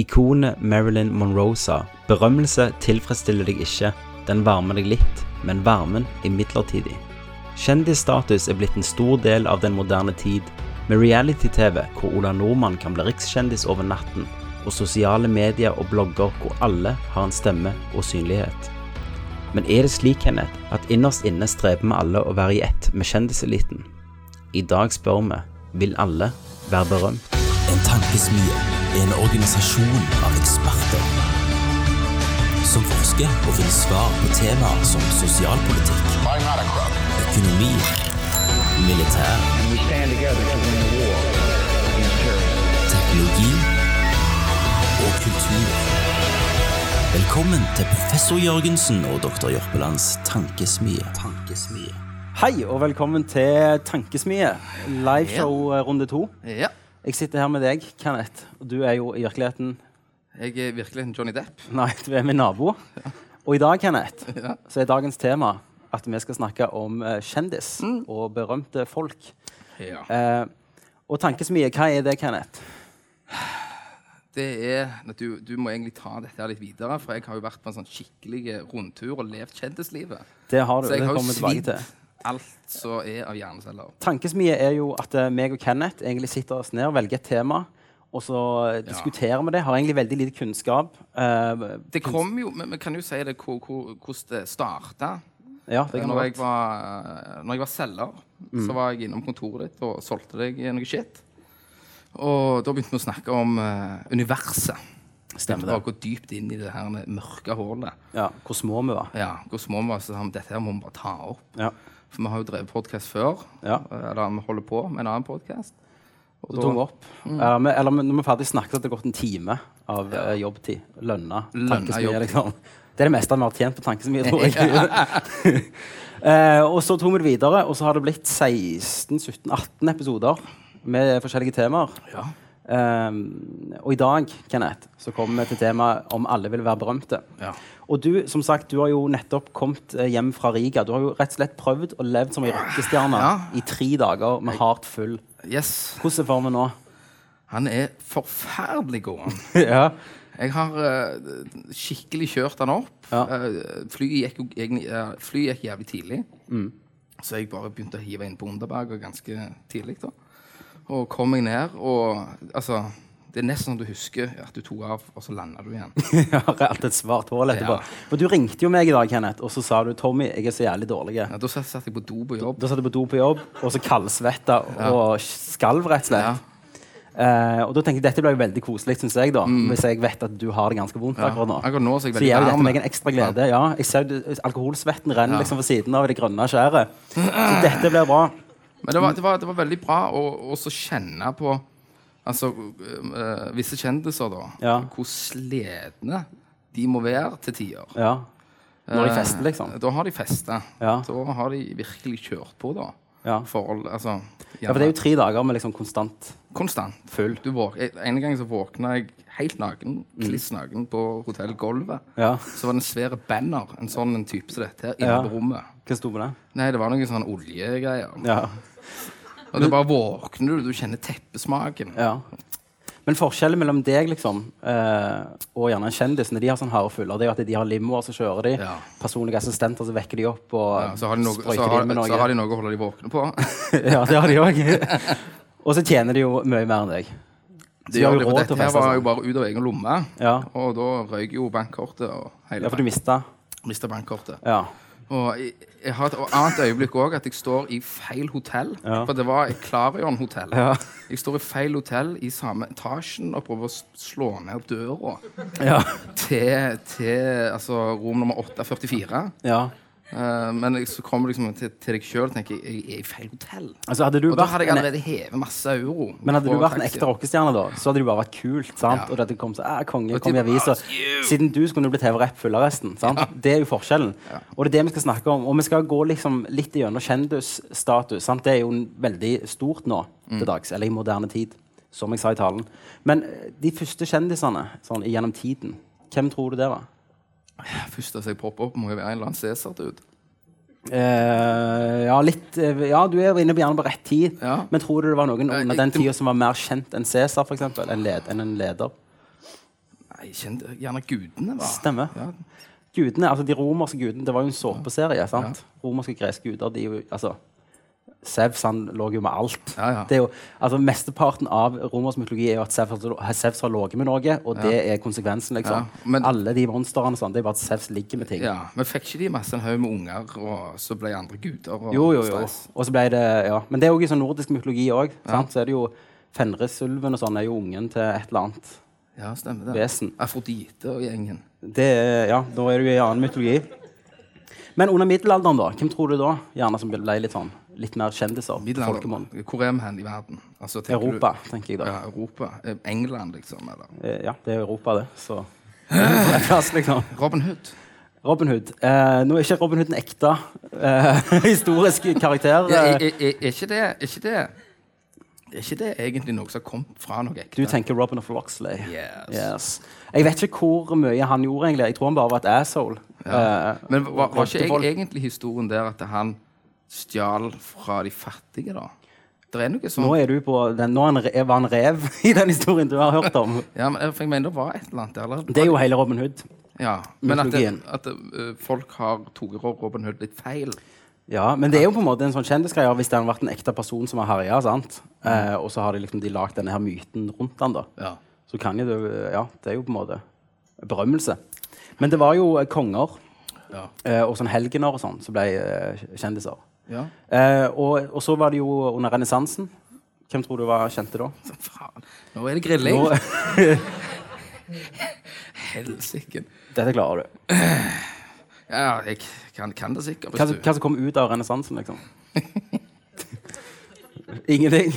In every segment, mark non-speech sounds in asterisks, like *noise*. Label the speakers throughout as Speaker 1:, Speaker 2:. Speaker 1: Ikonet Marilyn Monroe-sa berømmelse tilfredsstiller deg ikke, den varmer deg litt, men varmen er midlertidig. Kjendisstatus er blitt en stor del av den moderne tid, med reality-TV hvor Ola Nordmann kan bli rikskjendis over natten, og sosiale medier og blogger hvor alle har en stemme og synlighet. Men er det slik, Kenneth, at innerst inne streber vi alle å være i ett med kjendiseliten? I dag spør vi, vil alle være berømt?
Speaker 2: En tankesmie er en organisasjon av eksperter som forsker og finner svar på temaer som sosialpolitikk, økonomi, militær, teknologi og kultur. Velkommen til professor Jørgensen og doktor Jørpelands tankesmie. tankesmie.
Speaker 1: Hei, og velkommen til Tankesmie, liveshow eh, runde to.
Speaker 3: Ja.
Speaker 1: Jeg sitter her med deg, Kenneth. Og du er jo i virkeligheten
Speaker 3: Jeg er virkelig en Johnny Depp. *laughs*
Speaker 1: Nei, *laughs* du er min nabo. Og i dag, Kenneth, så er dagens tema at vi skal snakke om eh, kjendis og berømte folk.
Speaker 3: Ja.
Speaker 1: Eh, og tankesmie, hva er det, Kenneth?
Speaker 3: Det er, nei, du, du må egentlig ta dette her litt videre, for jeg har jo vært på en sånn skikkelig rundtur og levd kjendislivet.
Speaker 1: Det har du.
Speaker 3: Så jeg
Speaker 1: det
Speaker 3: har jo
Speaker 1: kommer vi tilbake
Speaker 3: svidd
Speaker 1: til.
Speaker 3: alt som er av hjerneceller.
Speaker 1: Tankesmie er jo at eh, meg og Kenneth egentlig sitter oss ned og velger et tema. Og så eh, diskuterer vi det. Har egentlig veldig lite kunnskap. eh,
Speaker 3: Det kom jo, men Vi kan jo si det hvor, hvor, hvordan det starta.
Speaker 1: ja, det kan
Speaker 3: Når,
Speaker 1: være. Mm.
Speaker 3: jeg var- når jeg var selger, så var jeg innom kontoret ditt og solgte deg noe shit. Og da begynte vi å snakke om eh, universet.
Speaker 1: Stemmer
Speaker 3: Bare
Speaker 1: det.
Speaker 3: gå dypt inn i det her mørke hullet.
Speaker 1: Ja, hvor små vi var.
Speaker 3: Ja, hvor små vi var, så sa vi dette her må vi bare ta opp.
Speaker 1: Ja.
Speaker 3: For vi har jo drevet podkast før.
Speaker 1: Ja.
Speaker 3: Eller vi holder på med en annen podkast. Og Mm.
Speaker 1: Så tok vi opp. Eller, men- eller men når vi er ferdig snakket, så hadde det gått en time av eh, jobbtid. Lønna.
Speaker 3: Lønna
Speaker 1: Tankesmie,
Speaker 3: jobbtid.
Speaker 1: liksom. Det er det meste vi har tjent på tankesmie, tror jeg. *laughs*
Speaker 3: *laughs*
Speaker 1: Eh, og så tok vi det videre, og så har det blitt 16-17-18 episoder med forskjellige temaer.
Speaker 3: Ja.
Speaker 1: Eh, og i dag, Kenneth, så kommer vi til temaet om alle vil være berømte.
Speaker 3: Ja.
Speaker 1: Og du som sagt, du har jo nettopp kommet eh, hjem fra Riga. Du har jo rett og slett prøvd og levd som ei rockestjerne
Speaker 3: Ja.
Speaker 1: i tre dager med hardt full.
Speaker 3: Yes.
Speaker 1: Hvordan er formen nå?
Speaker 3: Han er forferdelig god. han. *laughs*
Speaker 1: ja.
Speaker 3: Jeg har eh, skikkelig kjørt han opp.
Speaker 1: Ja.
Speaker 3: Eh, flyet, gikk jo, egentlig- eh, flyet gikk jævlig tidlig.
Speaker 1: Mm.
Speaker 3: Så jeg bare begynte å hive inn på Underberger ganske tidlig. da. Og kom meg ned, og altså Det er nesten sånn du husker at du tok av, og så landa du igjen.
Speaker 1: *laughs* Jeg har alltid et svart hull etterpå.
Speaker 3: Ja.
Speaker 1: For du ringte jo meg i dag, Kenneth, og så sa du Tommy, jeg er så jævlig dårlig.
Speaker 3: Ja, da satt satt jeg på do på jobb.
Speaker 1: Da satt jeg på do på jobb, og så kaldsvetta og skalv, rett og slett.
Speaker 3: Ja.
Speaker 1: Eh, og da tenkte jeg dette ble jo veldig koselig, syns jeg, da. Hvis jeg vet at du har det ganske vondt akkurat nå.
Speaker 3: Akkurat nå så
Speaker 1: så
Speaker 3: er Mm. jeg veldig
Speaker 1: gir jo dette
Speaker 3: varm.
Speaker 1: meg en ekstra glede. Ja. Jeg ser jo det- alkoholsvetten renner liksom for siden av i det grønne skjæret. Så dette blir bra.
Speaker 3: Men det var, det var, det var veldig bra å å så kjenne på altså, øh, visse kjendiser, da.
Speaker 1: Ja.
Speaker 3: Hvor sledne de må være til tider.
Speaker 1: Ja. Når de fester, liksom.
Speaker 3: Eh, Da har de festa.
Speaker 1: Ja.
Speaker 3: Da har de virkelig kjørt på, da.
Speaker 1: Ja.
Speaker 3: Forhold, altså,
Speaker 1: Ja, for det er jo tre dager med liksom konstant
Speaker 3: Konstant.
Speaker 1: Full.
Speaker 3: Du våk, jeg- en gang så våkna jeg helt naken, kliss naken, på hotellgulvet.
Speaker 1: Mm. Ja.
Speaker 3: Så var det en svær banner, en sånn en type som dette, her, inne
Speaker 1: Ja.
Speaker 3: på rommet.
Speaker 1: Hva sto på det?
Speaker 3: Nei, det var noen sånne oljegreier.
Speaker 1: Ja.
Speaker 3: Og det bare våkner du, du kjenner teppesmaken.
Speaker 1: Ja. Men forskjellen mellom deg liksom, eh, og gjerne en kjendis når de har sånn harde fuller, det er jo at de har limoer som kjører de,
Speaker 3: Ja.
Speaker 1: personlige assistenter som vekker de opp og
Speaker 3: Ja, så har de noe, så
Speaker 1: sprøyter
Speaker 3: har,
Speaker 1: de med noe.
Speaker 3: så har de noe å holde de våkne på.
Speaker 1: *laughs* ja, det har de òg. *laughs* og så tjener de jo mye mer enn deg. Så de har jo
Speaker 3: og
Speaker 1: råd
Speaker 3: dette
Speaker 1: til å
Speaker 3: her
Speaker 1: feste
Speaker 3: var jo
Speaker 1: sånn.
Speaker 3: bare ut av egen lomme,
Speaker 1: Ja.
Speaker 3: og da røyk jo bankkortet. Og hele
Speaker 1: Ja, for du mista
Speaker 3: mista bankkortet.
Speaker 1: Ja.
Speaker 3: Og jeg, jeg har et annet øyeblikk òg, at jeg står i feil hotell.
Speaker 1: Ja.
Speaker 3: For det var et Klarion-hotell.
Speaker 1: Ja.
Speaker 3: Jeg står i feil hotell i samme etasjen og prøver å s- slå ned døra
Speaker 1: Ja.
Speaker 3: til, til altså, rom nummer 844.
Speaker 1: ja.
Speaker 3: Eh, men jeg, så kommer du liksom til, til deg sjøl og tenker jeg, jeg er i feil hotell.
Speaker 1: Altså, hadde du
Speaker 3: Og da
Speaker 1: vært
Speaker 3: hadde jeg
Speaker 1: en-
Speaker 3: allerede hevet masse euro.
Speaker 1: Men hadde du
Speaker 3: på
Speaker 1: vært en
Speaker 3: taxi.
Speaker 1: ekte rockestjerne, da, så hadde det jo bare vært kult. sant?
Speaker 3: Ja.
Speaker 1: Og det hadde kommet så, «Æ, konge,
Speaker 3: Og
Speaker 1: kom i
Speaker 3: typ,
Speaker 1: avisa.
Speaker 3: «Ah, you!»
Speaker 1: Siden du så kunne du blitt hevet rett full av resten. sant? Det er jo forskjellen. Og det er det vi skal snakke om. Og vi skal gå liksom litt gjennom kjendisstatus. sant? Det er jo en veldig stort nå
Speaker 3: Mm.
Speaker 1: til dags, eller i moderne tid, som jeg sa i talen. Men eh, de første kjendisene sånn, gjennom tiden, hvem tror du det var?
Speaker 3: Første som jeg popper opp, må jo være en eller annen Cæsar-dude.
Speaker 1: Eh, ja, litt eh, Ja, du er jo inne på gjerne på rett tid.
Speaker 3: Ja. Eh,
Speaker 1: Men tror du det var noen under
Speaker 3: jeg-
Speaker 1: den
Speaker 3: det må-
Speaker 1: tida som var mer kjent enn Cæsar, f.eks.? Enn led, enn en leder?
Speaker 3: Jeg kjente gjerne gudene, hva?
Speaker 1: Stemmer.
Speaker 3: Ja.
Speaker 1: Gudene, altså de romerske gudene, Det var jo en såpeserie. sant? Romerske og greske guder de er jo, altså, Sevs han lå jo med alt.
Speaker 3: Ja, ja.
Speaker 1: Det er jo, altså Mesteparten av romersk mytologi er jo at Sevs, har- Sevs har ligget med noe, og det er konsekvensen. liksom.
Speaker 3: Ja, men-
Speaker 1: Alle de monstrene sånn, det er bare at Sevs ligger med ting.
Speaker 3: ja, Men fikk ikke de masse en haug med unger, og så ble andre guder? Og
Speaker 1: Jo, jo, jo.
Speaker 3: stress?
Speaker 1: Og så ble det, ja. Men det er jo i sånn nordisk mytologi òg. Så er det jo Fenrisulven og sånn er jo ungen til et eller annet
Speaker 3: Ja, stemmer det.
Speaker 1: vesen.
Speaker 3: Afrodite og gjengen.
Speaker 1: Det er, ja, Da er du i annen mytologi. Men under middelalderen, da? Hvem tror du da gjerne som ble litt sånn, litt mer kjendiser? Folkemunn.
Speaker 3: Middelalderen. Hvor er vi hen i verden? Altså, tenker du-
Speaker 1: Europa, tenker jeg da.
Speaker 3: Ja, Europa. Eh, England, liksom. Eller
Speaker 1: Eh, Ja, det er Europa, det. Så En plass, *laughs* liksom.
Speaker 3: Robin Hood.
Speaker 1: Robin Hood. Eh, nå er ikke Robin Hood en ekte eh, *laughs* historisk karakter.
Speaker 3: Ja, er,
Speaker 1: Eh,
Speaker 3: er, er, er ikke det Er ikke det er ikke det egentlig noe som kom fra noe ekte?
Speaker 1: Du tenker Robin of Loxley.
Speaker 3: Yes.
Speaker 1: Yes. Jeg vet ikke hvor mye han gjorde, egentlig. Jeg tror han bare var et asshole. Eh,
Speaker 3: Men var, var ikke
Speaker 1: Folk-
Speaker 3: jeg, egentlig historien der at han stjal fra de fattige, da? Det er noe
Speaker 1: nå
Speaker 3: sånn
Speaker 1: er du på den, nå er han, re- var han rev *laughs* i den historien du har hørt om.
Speaker 3: ja, men, jeg- for jeg mener det var et eller annet der. Eller?
Speaker 1: Det er jo hele Robin Hood.
Speaker 3: ja, men at, det,
Speaker 1: mytologien.
Speaker 3: at det, eh, folk har tatt Robin Hood litt feil.
Speaker 1: Ja, Men det er jo på en måte en sånn kjendisgreie hvis det hadde vært en ekte person som har herja, sant? Eh, og så har de liksom de lagd denne her myten rundt han da.
Speaker 3: Ja.
Speaker 1: Så kan jo det Ja, det er jo på en måte berømmelse. Men det var jo eh, konger
Speaker 3: Ja.
Speaker 1: eh, og sånn helgener og sånn som ble eh, kjendiser.
Speaker 3: Ja.
Speaker 1: Eh, og, og så var det jo under renessansen. Hvem tror du var kjente da?
Speaker 3: Faen. Nå er det grilling.
Speaker 1: Nå- *laughs*
Speaker 3: Helsike.
Speaker 1: Dette klarer du.
Speaker 3: Ja, jeg kan, kan det sikkert.
Speaker 1: Hva,
Speaker 3: Hvis
Speaker 1: hva som kom ut av renessansen, liksom? *laughs* Ingenting?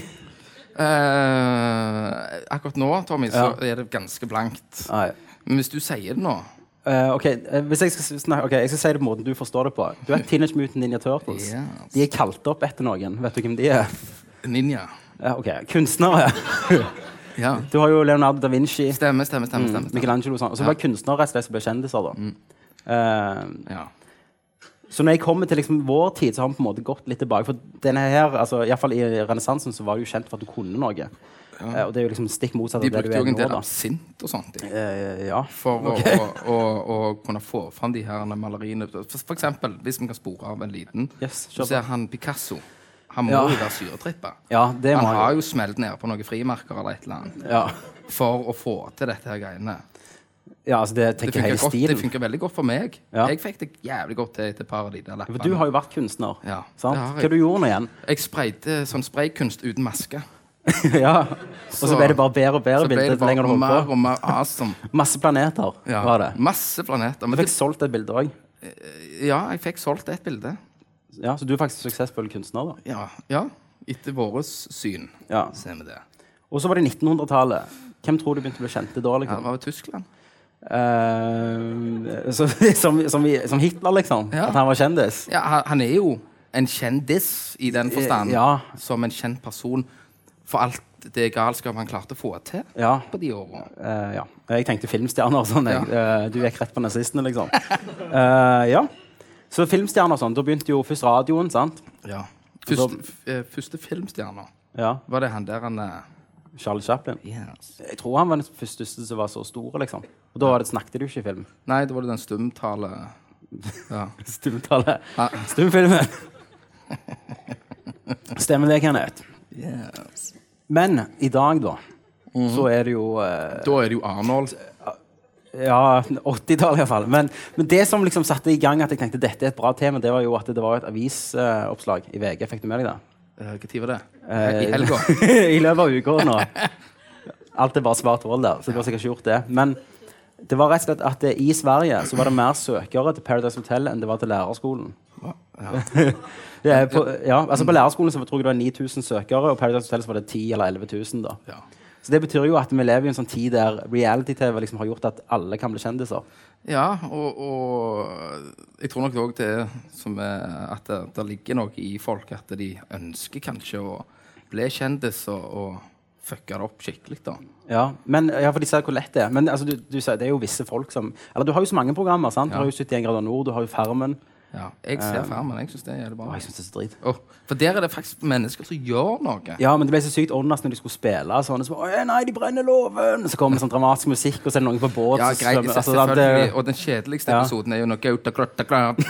Speaker 3: Eh, akkurat nå, Tommy, så er det ganske blankt.
Speaker 1: Nei.
Speaker 3: Men hvis du sier det nå
Speaker 1: Eh, ok, eh, hvis jeg skal, s- snakke, ok, jeg skal si det på måten du forstår det på. Du
Speaker 3: *laughs*
Speaker 1: vet Teenage Mutant Ninja Turtles?
Speaker 3: Yes.
Speaker 1: De er kalt opp etter noen. Vet du hvem de er?
Speaker 3: Ninja.
Speaker 1: Ja, ok, Kunstnere. *laughs*
Speaker 3: Ja.
Speaker 1: Du har jo Leonardo da Vinci,
Speaker 3: Stemme, stemme, stemme. stemme, stemme.
Speaker 1: Michelangelo og sånn. Og så var det kunstnere rett og slett som ble kjendiser. da.
Speaker 3: Mm.
Speaker 1: Eh,
Speaker 3: Ja.
Speaker 1: så når jeg kommer til liksom vår tid, så har vi på en måte gått litt tilbake. For denne her, altså, i hvert fall i renessansen så var du jo kjent for at du kunne noe. Eh, og det er jo liksom stikk motsatt av
Speaker 3: De
Speaker 1: det du
Speaker 3: brukte
Speaker 1: er
Speaker 3: jo en
Speaker 1: nå.
Speaker 3: del
Speaker 1: da.
Speaker 3: absint og sånt de,
Speaker 1: Eh, ja.
Speaker 3: for å- å, å, å kunne få fram de her maleriene. For, for eksempel, hvis vi kan spore av en liten,
Speaker 1: Yes, kjør
Speaker 3: så
Speaker 1: på.
Speaker 3: ser han Picasso. Han må
Speaker 1: Ja.
Speaker 3: jo være syretrippa.
Speaker 1: ja, det må
Speaker 3: Han har
Speaker 1: han jo.
Speaker 3: jo smelt ned på noen frimerker eller et eller annet
Speaker 1: Ja.
Speaker 3: for å få til dette her greiene.
Speaker 1: ja, altså det
Speaker 3: Det
Speaker 1: tenker jeg
Speaker 3: funker,
Speaker 1: hele
Speaker 3: godt, det
Speaker 1: stilen.
Speaker 3: funker veldig godt for meg.
Speaker 1: Ja.
Speaker 3: Jeg fikk det jævlig godt til etter et par av de der
Speaker 1: For
Speaker 3: lappene.
Speaker 1: du har jo vært kunstner.
Speaker 3: Ja,
Speaker 1: sant?
Speaker 3: det har
Speaker 1: Hva
Speaker 3: jeg.
Speaker 1: du gjorde nå igjen? *laughs*
Speaker 3: Jeg sprayte sånn spraykunst uten maske.
Speaker 1: ja. Og så ble det bare bedre og bedre
Speaker 3: Så ble
Speaker 1: bilder
Speaker 3: det
Speaker 1: jo lenger
Speaker 3: bare
Speaker 1: du
Speaker 3: mer
Speaker 1: holdt på.
Speaker 3: og mer
Speaker 1: *laughs*
Speaker 3: awesome.
Speaker 1: Masse planeter
Speaker 3: Ja.
Speaker 1: var det.
Speaker 3: Masse planeter.
Speaker 1: Du
Speaker 3: Men
Speaker 1: fikk
Speaker 3: det,
Speaker 1: solgt et bilde òg.
Speaker 3: ja, jeg fikk solgt et bilde.
Speaker 1: Ja, så du er faktisk suksessfull kunstner. da.
Speaker 3: Ja. ja. Etter vårt syn
Speaker 1: Ja.
Speaker 3: ser vi det.
Speaker 1: Og så var det 1900-tallet. Hvem tror du begynte å bli kjente da?
Speaker 3: Ja, det
Speaker 1: liksom?
Speaker 3: var jo Tyskland.
Speaker 1: Eh, så, *laughs* som, som, i- som Hitler, liksom?
Speaker 3: Ja.
Speaker 1: At han var kjendis?
Speaker 3: Ja, han- han er jo en kjendis i den forstand.
Speaker 1: Eh, Ja.
Speaker 3: Som en kjent person for alt det galskapet han klarte å få til
Speaker 1: Ja.
Speaker 3: på de årene.
Speaker 1: Eh, ja. Jeg tenkte filmstjerner og sånn. jeg.
Speaker 3: Ja.
Speaker 1: Eh, du gikk rett på nazistene, liksom. Eh, ja. Så filmstjerner og sånn. Da begynte jo først radioen, sant?
Speaker 3: Ja. Første, f- eh, første filmstjerna
Speaker 1: Ja.
Speaker 3: var det han der han eh,
Speaker 1: Charlie Chaplin.
Speaker 3: yes.
Speaker 1: Jeg tror han var den første som var så stor, liksom. Og da var det, snakket du ikke i film.
Speaker 3: Nei, det var det den stumtale
Speaker 1: *laughs*
Speaker 3: ja.
Speaker 1: Stumtale. Stumfilmen. Stemmer det, Kenneth? Men i dag, da, så er det jo eh,
Speaker 3: Da er det jo Arnold.
Speaker 1: Ja, 80-tallet iallfall. Men, men det som liksom satte i gang at jeg tenkte dette er et bra tema, det var jo at det var et avisoppslag i VG. Fikk du med deg det?
Speaker 3: Eh, Hva tid var det?
Speaker 1: Eh,
Speaker 3: I helga?
Speaker 1: *laughs* I løpet av uka nå. Alt er bare svart hull der, så du har sikkert gjort det. Men det var rett og slett at eh, i Sverige så var det mer søkere til Paradise Hotel enn det var til lærerskolen. Det er på, ja, altså på lærerskolen så tror jeg det var 9000 søkere, og Paradise Hotel så var det 10 000 eller 11 000. Da.
Speaker 3: Ja.
Speaker 1: Så det betyr jo at vi lever i en sånn tid der reality-TV liksom har gjort at alle kan bli kjendiser.
Speaker 3: *laughs* Ja, og, og jeg tror nok òg det er som er at det, det ligger noe i folk at de ønsker kanskje å bli kjendis og, og fucke det opp skikkelig, da.
Speaker 1: Ja, men, ja, for de ser hvor lett det er. Men altså, du, du, sier det er jo visse folk som Eller du har jo så mange programmer. sant? Du har jo 71 grader nord, du har jo Farmen.
Speaker 3: Ja. Jeg ser Farmen. Jeg syns det er det bra.
Speaker 1: Å, jeg synes det er så drit.
Speaker 3: Åh, for der er det faktisk mennesker som gjør noe.
Speaker 1: Ja, men det ble så sykt åndas når de skulle spille. Sånn, og så bare, «Å, nei, de brenner låven! Så kommer det sånn dramatisk musikk, og så er det noen på båt
Speaker 3: Ja,
Speaker 1: som
Speaker 3: greit,
Speaker 1: svømmer. Altså, sånn at det-
Speaker 3: selvfølgelig. Og den kjedeligste
Speaker 1: Ja.
Speaker 3: episoden er jo når Gauta Kløtta Klap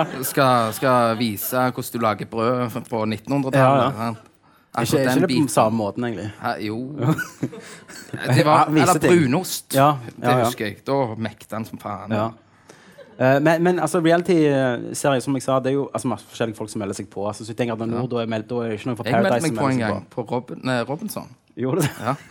Speaker 1: *laughs*
Speaker 3: skal, skal vise hvordan du lager brød på 1900-tallet.
Speaker 1: Ja, ja.
Speaker 3: sant?
Speaker 1: Ikke,
Speaker 3: Akkurat
Speaker 1: ikke
Speaker 3: den
Speaker 1: det på
Speaker 3: biten.
Speaker 1: den samme måten, egentlig.
Speaker 3: Hæ, jo
Speaker 1: *laughs*
Speaker 3: det var,
Speaker 1: Ja, vise
Speaker 3: Eller
Speaker 1: ting.
Speaker 3: brunost.
Speaker 1: Ja, ja, ja.
Speaker 3: Det husker jeg. Da mekta han som faen.
Speaker 1: Ja. Eh, men, men altså, reality-serier, som jeg sa, det er jo altså, masse forskjellige folk som melder seg på. Altså, så jeg tenker at når Nord da er meldt, da er det ikke noe fra
Speaker 3: Jeg meldte
Speaker 1: Paradise
Speaker 3: meg
Speaker 1: som
Speaker 3: på en
Speaker 1: melder seg
Speaker 3: gang på Robin, nei, Robinson.
Speaker 1: på. Gjorde du det?
Speaker 3: Ja. *laughs*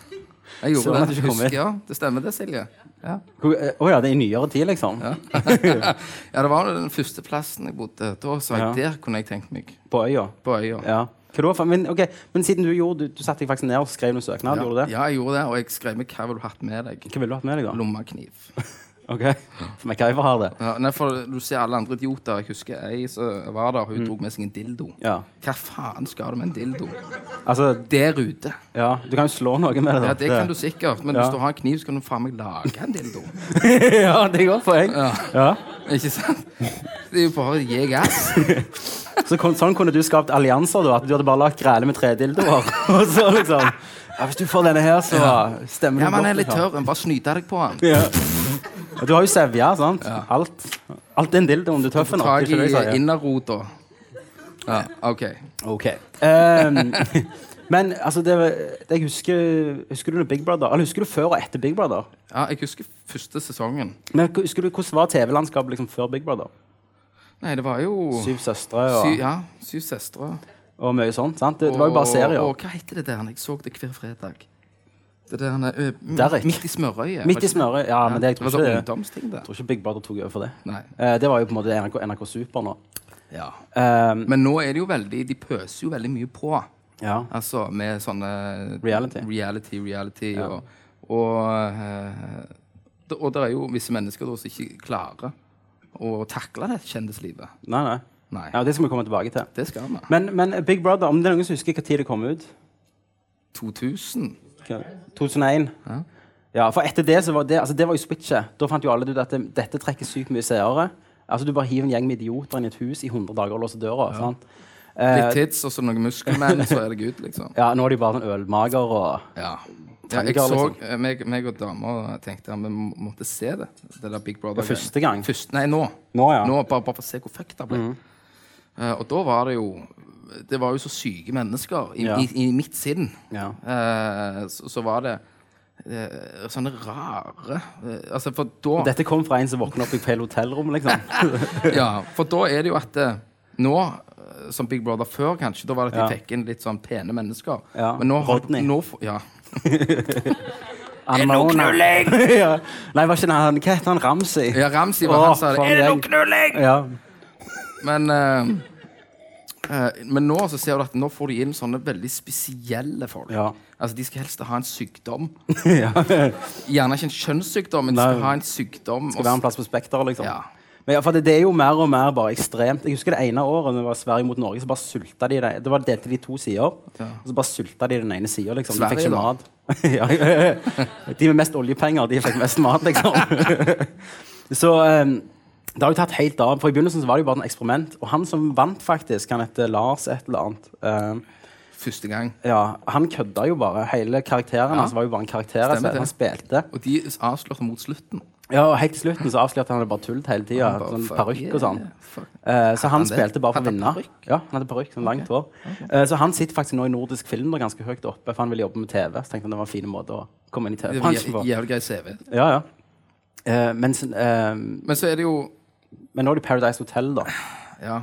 Speaker 1: Så
Speaker 3: Jeg gjorde
Speaker 1: hadde
Speaker 3: det.
Speaker 1: du ikke kommet.
Speaker 3: Husker, ja, det stemmer det, Silje. Ja.
Speaker 1: Hvor- eh, Å ja, det er i nyere tid, liksom? *laughs*
Speaker 3: *laughs* ja, det var jo den første plassen jeg bodde. Da sa jeg
Speaker 1: Ja.
Speaker 3: der kunne jeg tenkt meg.
Speaker 1: På øya?
Speaker 3: På øya.
Speaker 1: Ja. Hva da? for- Men, ok, men siden du gjorde Du, du satte deg faktisk ned og skrev en søknad,
Speaker 3: Ja,
Speaker 1: gjorde du det?
Speaker 3: ja, jeg gjorde det, og jeg skrev med 'Hva vil du ha hatt med deg?'
Speaker 1: Hva ville du hatt med deg, da?
Speaker 3: Lommekniv.
Speaker 1: Ok, *laughs* For MacGyver har det.
Speaker 3: Ja, nei, for du ser alle andre idioter. Jeg husker ei som var der,
Speaker 1: Mm.
Speaker 3: hun dro med seg en dildo.
Speaker 1: Ja.
Speaker 3: Hva faen skal du med en dildo?
Speaker 1: Altså,
Speaker 3: Der ute.
Speaker 1: ja, du kan jo slå noe med det. da.
Speaker 3: Ja, det kan du sikkert, men
Speaker 1: Ja.
Speaker 3: hvis du har en kniv, så kan du faen meg lage en dildo. *laughs*
Speaker 1: *laughs* ja, det er godt poeng. Ja.
Speaker 3: Ikke sant? Det er jo bare å gi gass.
Speaker 1: Så kon sånn kunne du skapt allianser, da. At du hadde bare lagt græle med tredildoer. *laughs* og så liksom ja, Hvis du får denne her, så stemmer du
Speaker 3: Ja, men han er
Speaker 1: godt.
Speaker 3: litt
Speaker 1: liksom.
Speaker 3: tørr. men Bare snyte deg på han.
Speaker 1: Ja. Og Du har jo sevja, sant? Alt. Alt er en dildo om du er tøff nok.
Speaker 3: Tag
Speaker 1: ikke det jeg
Speaker 3: i
Speaker 1: sier.
Speaker 3: innerrota. Ja, OK.
Speaker 1: Ok. Ehm, *laughs* men altså, det, det jeg husker Husker du når Big Brother? Eller husker du før og etter Big Brother?
Speaker 3: Ja, jeg husker første sesongen.
Speaker 1: Men husker du Hvordan var TV-landskapet liksom før Big Brother?
Speaker 3: Nei, det var jo
Speaker 1: Syv søstre og,
Speaker 3: Oh. Sy, ja, Syv søstre.
Speaker 1: og mye sånt. sant? Det, det var jo bare serier.
Speaker 3: Og, og hva heter det der? Jeg så det hver fredag. Det der ø, m-
Speaker 1: Derek.
Speaker 3: Midt i smørøyet.
Speaker 1: Midt i smøret. Ja, men det, jeg
Speaker 3: Det var
Speaker 1: tror ikke
Speaker 3: sånn
Speaker 1: det.
Speaker 3: ungdomsting, det.
Speaker 1: Jeg tror ikke Big Brother tok over for det.
Speaker 3: Nei.
Speaker 1: Eh, det var jo på en måte NRK, NRK Super nå.
Speaker 3: Ja.
Speaker 1: Ehm,
Speaker 3: Men nå er det jo veldig De pøser jo veldig mye på.
Speaker 1: ja.
Speaker 3: Altså med sånne
Speaker 1: Reality.
Speaker 3: Reality, reality og, og eh, det- Og det er jo visse mennesker da som ikke klarer å takle det kjendislivet.
Speaker 1: Nei, nei.
Speaker 3: Nei.
Speaker 1: Ja, det skal vi komme tilbake til.
Speaker 3: Det skal vi.
Speaker 1: Men, men Big Brother, om det er noen som husker når det kom ut?
Speaker 3: 2000.
Speaker 1: Hva- 2001? Ja. For etter det så var det altså det var jo switchet. Da fant jo alle ut at det, dette trekker sykt mye seere. Altså Du bare hiver en gjeng med idioter inn i et hus i 100 dager og låser døra. sant? Eh,
Speaker 3: Litt tits og så noen muskelmenn, så er det good, liksom.
Speaker 1: Ja, Nå er de bare sånn ølmager og
Speaker 3: Ja. ja jeg
Speaker 1: Tanker,
Speaker 3: så,
Speaker 1: liksom.
Speaker 3: eh, meg, meg og dama tenkte at vi må- måtte se det. Det der Big Brother.
Speaker 1: Ja, første gang.
Speaker 3: Først, nei, nå.
Speaker 1: Nå, ja. Mhm.
Speaker 3: bare, bare for å se hvor fucked det ble. Eh, og da var det jo Det var jo så syke mennesker i,
Speaker 1: Ja.
Speaker 3: i, i mitt sinn.
Speaker 1: Ja.
Speaker 3: Eh, så, så var det eh, sånne rare eh, Altså, for da
Speaker 1: Dette kom fra en som våkna opp i feil hotellrom, liksom. *laughs*
Speaker 3: *laughs* ja, for da er det jo at eh, nå, eh, som Big Brother før kanskje, da var det at de
Speaker 1: Ja.
Speaker 3: fikk inn litt sånn pene mennesker.
Speaker 1: Ja,
Speaker 3: Men nå, har-
Speaker 1: Rodney.
Speaker 3: nå får- ja.
Speaker 1: Er det noe knulling?! *laughs* ja. Nei, var ikke han, hva heter han? Ramsi?
Speaker 3: ja, Ramsi var han
Speaker 1: Åh,
Speaker 3: som sa det.
Speaker 1: faen,
Speaker 3: Er det
Speaker 1: jeg-
Speaker 3: noe knulling?!
Speaker 1: Ja. *laughs*
Speaker 3: Men, eh, eh, men nå så ser du at nå får de inn sånne veldig spesielle folk.
Speaker 1: Ja.
Speaker 3: Altså, De skal helst ha en sykdom.
Speaker 1: ja. Det
Speaker 3: Gjerne ikke en kjønnssykdom, men de
Speaker 1: Nei.
Speaker 3: skal ha en sykdom.
Speaker 1: skal være en plass på Spekter, liksom.
Speaker 3: Ja.
Speaker 1: Men ja, for det, det er jo mer og mer bare ekstremt. Jeg husker Det ene året når det var Sverige mot Norge, så bare sulta de det. Det var delte de i to sider. Og så bare sulta de den ene sida, liksom. De fikk
Speaker 3: Sverige,
Speaker 1: ikke
Speaker 3: da?
Speaker 1: mat. *laughs* ja, ja, ja. de med mest oljepenger, de fikk mest mat, liksom. *laughs* så eh, det har jo tatt helt av. For I begynnelsen så var det jo bare et eksperiment. Og han som vant, faktisk, han heter Lars et eller annet. eh,
Speaker 3: første gang.
Speaker 1: ja, han kødda jo bare. Hele karakteren hans var jo bare en karakter. altså.
Speaker 3: det.
Speaker 1: Han spilte.
Speaker 3: Og de avslørte mot slutten.
Speaker 1: Ja, og helt til slutten så avslørte han det bare tullet hele tida.
Speaker 3: bare,
Speaker 1: Sånn
Speaker 3: fuck
Speaker 1: parykk og sånn.
Speaker 3: yeah, fuck.
Speaker 1: Eh, så han
Speaker 3: han det?
Speaker 1: spilte bare for å
Speaker 3: Hadde
Speaker 1: vinne.
Speaker 3: han parykk?
Speaker 1: Ja, han hadde parykk, sånn langt hår. Eh, så han sitter faktisk nå i nordisk film og ganske høyt oppe, for han ville jobbe med TV. Så tenkte han det var en fin måte å komme inn i
Speaker 3: Det var
Speaker 1: TV-bransjen
Speaker 3: jæ-
Speaker 1: på.
Speaker 3: Jævlig grei CV.
Speaker 1: Ja, ja. Eh, men, så- eh,
Speaker 3: Men så er det jo
Speaker 1: men nå er det Paradise Hotel, da.
Speaker 3: Ja.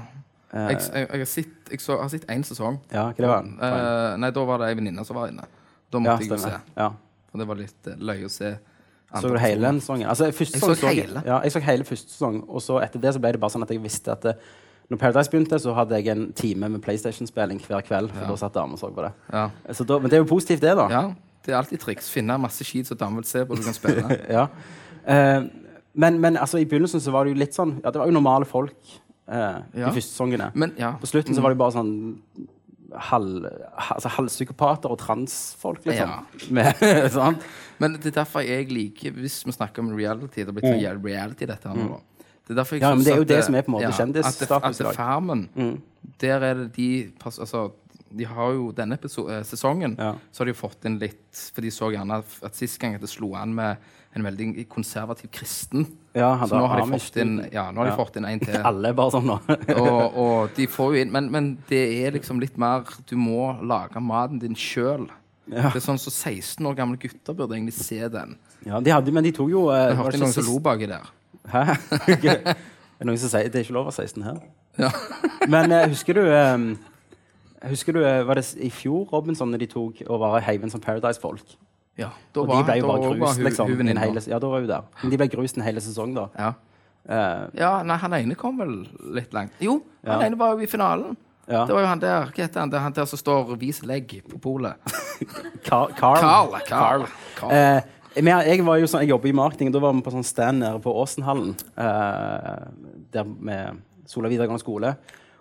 Speaker 1: Eh.
Speaker 3: Jeg, jeg, jeg, har sett- jeg, så, jeg har sett én sesong.
Speaker 1: Ja, hva det var den?
Speaker 3: Eh, nei, da var det ei venninne som var inne.
Speaker 1: Ja,
Speaker 3: Da måtte jeg jo se.
Speaker 1: stemmer. Ja.
Speaker 3: Og det var litt eh, løye å se.
Speaker 1: Så du hele den sesongen? Altså, første
Speaker 3: Jeg
Speaker 1: sesong
Speaker 3: så
Speaker 1: jeg-
Speaker 3: hele.
Speaker 1: Ja, jeg så hele første sesong, og så etter det så ble det bare sånn at jeg visste at eh, når Paradise begynte, så hadde jeg en time med PlayStation-spilling hver kveld. For da satt damer og så på det.
Speaker 3: Ja.
Speaker 1: Så da, men det er jo positivt, det, da.
Speaker 3: ja, det er alltid triks. Finne masse skit som damer vil se på, du kan
Speaker 1: *laughs*
Speaker 3: spille.
Speaker 1: Ja. Eh, men, men altså, i begynnelsen så var det jo litt sånn Ja, det var jo normale folk eh,
Speaker 3: Ja.
Speaker 1: de første sesongene.
Speaker 3: Men ja,
Speaker 1: På slutten så var det jo bare sånn halv, ha- altså, halvpsykopater og transfolk, liksom.
Speaker 3: Ja.
Speaker 1: *laughs* Med, sånn.
Speaker 3: Men det er derfor jeg liker, hvis vi snakker om reality Det har blitt så jævlig reality, sånn dette her nå. da. Det er derfor jeg
Speaker 1: Mm. Ja, men
Speaker 3: synes
Speaker 1: det er jo
Speaker 3: at
Speaker 1: det som er på en måte kjendisstatus
Speaker 3: at det- At
Speaker 1: i dag. Mm.
Speaker 3: det Farmen, der er det de pass- Altså, de har jo denne episo- eh, sesongen
Speaker 1: Ja.
Speaker 3: så har de jo fått inn litt For de så gjerne at- at sist gang at det slo an med en veldig konservativ kristen.
Speaker 1: Ja, han
Speaker 3: så
Speaker 1: da
Speaker 3: nå har de
Speaker 1: Amish,
Speaker 3: fått inn Ja, nå har de fått inn en til.
Speaker 1: *laughs* Alle er bare sånn nå. *laughs*
Speaker 3: og, og de får jo inn men, men det er liksom litt mer Du må lage maten din sjøl. Det er sånn så 16 år gamle gutter burde egentlig se den.
Speaker 1: ja, de hadde, men de tok jo eh,
Speaker 3: Jeg
Speaker 1: var
Speaker 3: hørte
Speaker 1: det
Speaker 3: noen
Speaker 1: ikke
Speaker 3: som
Speaker 1: sist-
Speaker 3: lo baki der.
Speaker 1: Hæ? *laughs* Er det noen som sier Det er ikke lov å være 16 her.
Speaker 3: Ja.
Speaker 1: *laughs* Men eh, husker du eh, Husker du, eh, Var det s- i fjor Robinson når de tok og var heiven som Paradise-folk?
Speaker 3: Ja, da
Speaker 1: Og de ble jo
Speaker 3: da
Speaker 1: bare grust,
Speaker 3: hu-
Speaker 1: liksom.
Speaker 3: hun
Speaker 1: en
Speaker 3: venninna.
Speaker 1: hele, ja, da var hun der. Men de ble grust en hel sesong, da.
Speaker 3: Ja.
Speaker 1: Eh,
Speaker 3: ja, nei, han ene kom vel litt langt. Jo, han
Speaker 1: Ja.
Speaker 3: ene var jo i finalen.
Speaker 1: Ja.
Speaker 3: Det var jo han der hva heter han, det er han der som står og viser legg på polet.
Speaker 1: Carl. Carl.
Speaker 3: Carl. Carl. Carl.
Speaker 1: Eh, men jeg- jeg, var jo sånn, jeg jobber i marketing, og da var vi på sånn stand nede på Åsenhallen. eh, der med Sola videregående skole.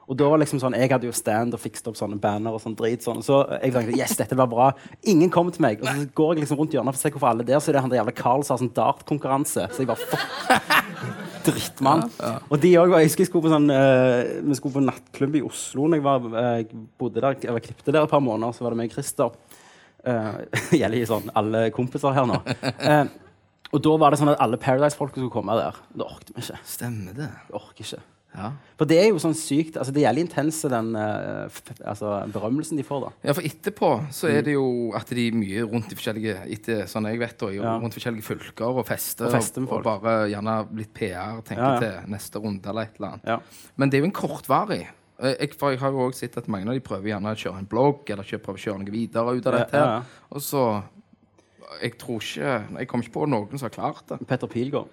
Speaker 1: Og da var liksom sånn, Jeg hadde jo stand og fikset opp sånne banner og sånn drit. Sånn, så jeg tenkte yes, dette blir bra. Ingen kommer til meg. Og så går jeg liksom rundt hjørnet for å se hvorfor alle er der, så er det han der jævla Carl som har sånn dartkonkurranse. Så jeg bare fuck. *laughs* Drittmann. Og de også var, jeg husker jeg skulle på sånn eh, Vi skulle på nattklubb i Oslo når jeg var, eh, bodde der, eller klippte der et par måneder. Så var det meg og Christer. Eh, *laughs* gjelder jo sånn alle kompiser her nå. Eh, og da var det sånn at alle Paradise-folka skulle komme der. Det orket vi ikke.
Speaker 3: Stemmer det.
Speaker 1: Det orker ikke.
Speaker 3: Ja.
Speaker 1: For det er jo sånn sykt altså Det gjelder intense den eh, f altså, berømmelsen de får, da.
Speaker 3: Ja, for etterpå så
Speaker 1: Mm.
Speaker 3: er det jo at de er mye rundt i forskjellige etter, sånn jeg vet, da, i-
Speaker 1: Ja.
Speaker 3: rundt forskjellige fylker og fester.
Speaker 1: Og fester med
Speaker 3: og, og
Speaker 1: folk.
Speaker 3: bare gjerne litt PR, tenke
Speaker 1: Ja, ja.
Speaker 3: til neste runde eller et eller annet.
Speaker 1: Ja.
Speaker 3: Men det er jo en kortvarig. Eh, Jeg, for jeg har jo også sett at mange av de prøver gjerne å kjøre en blogg eller kjø- prøver å kjøre noe videre ut av
Speaker 1: Ja,
Speaker 3: dette. her.
Speaker 1: ja, ja.
Speaker 3: Og så Jeg tror ikke Jeg kommer ikke på noen som har klart det.
Speaker 1: Petter Pilgaard.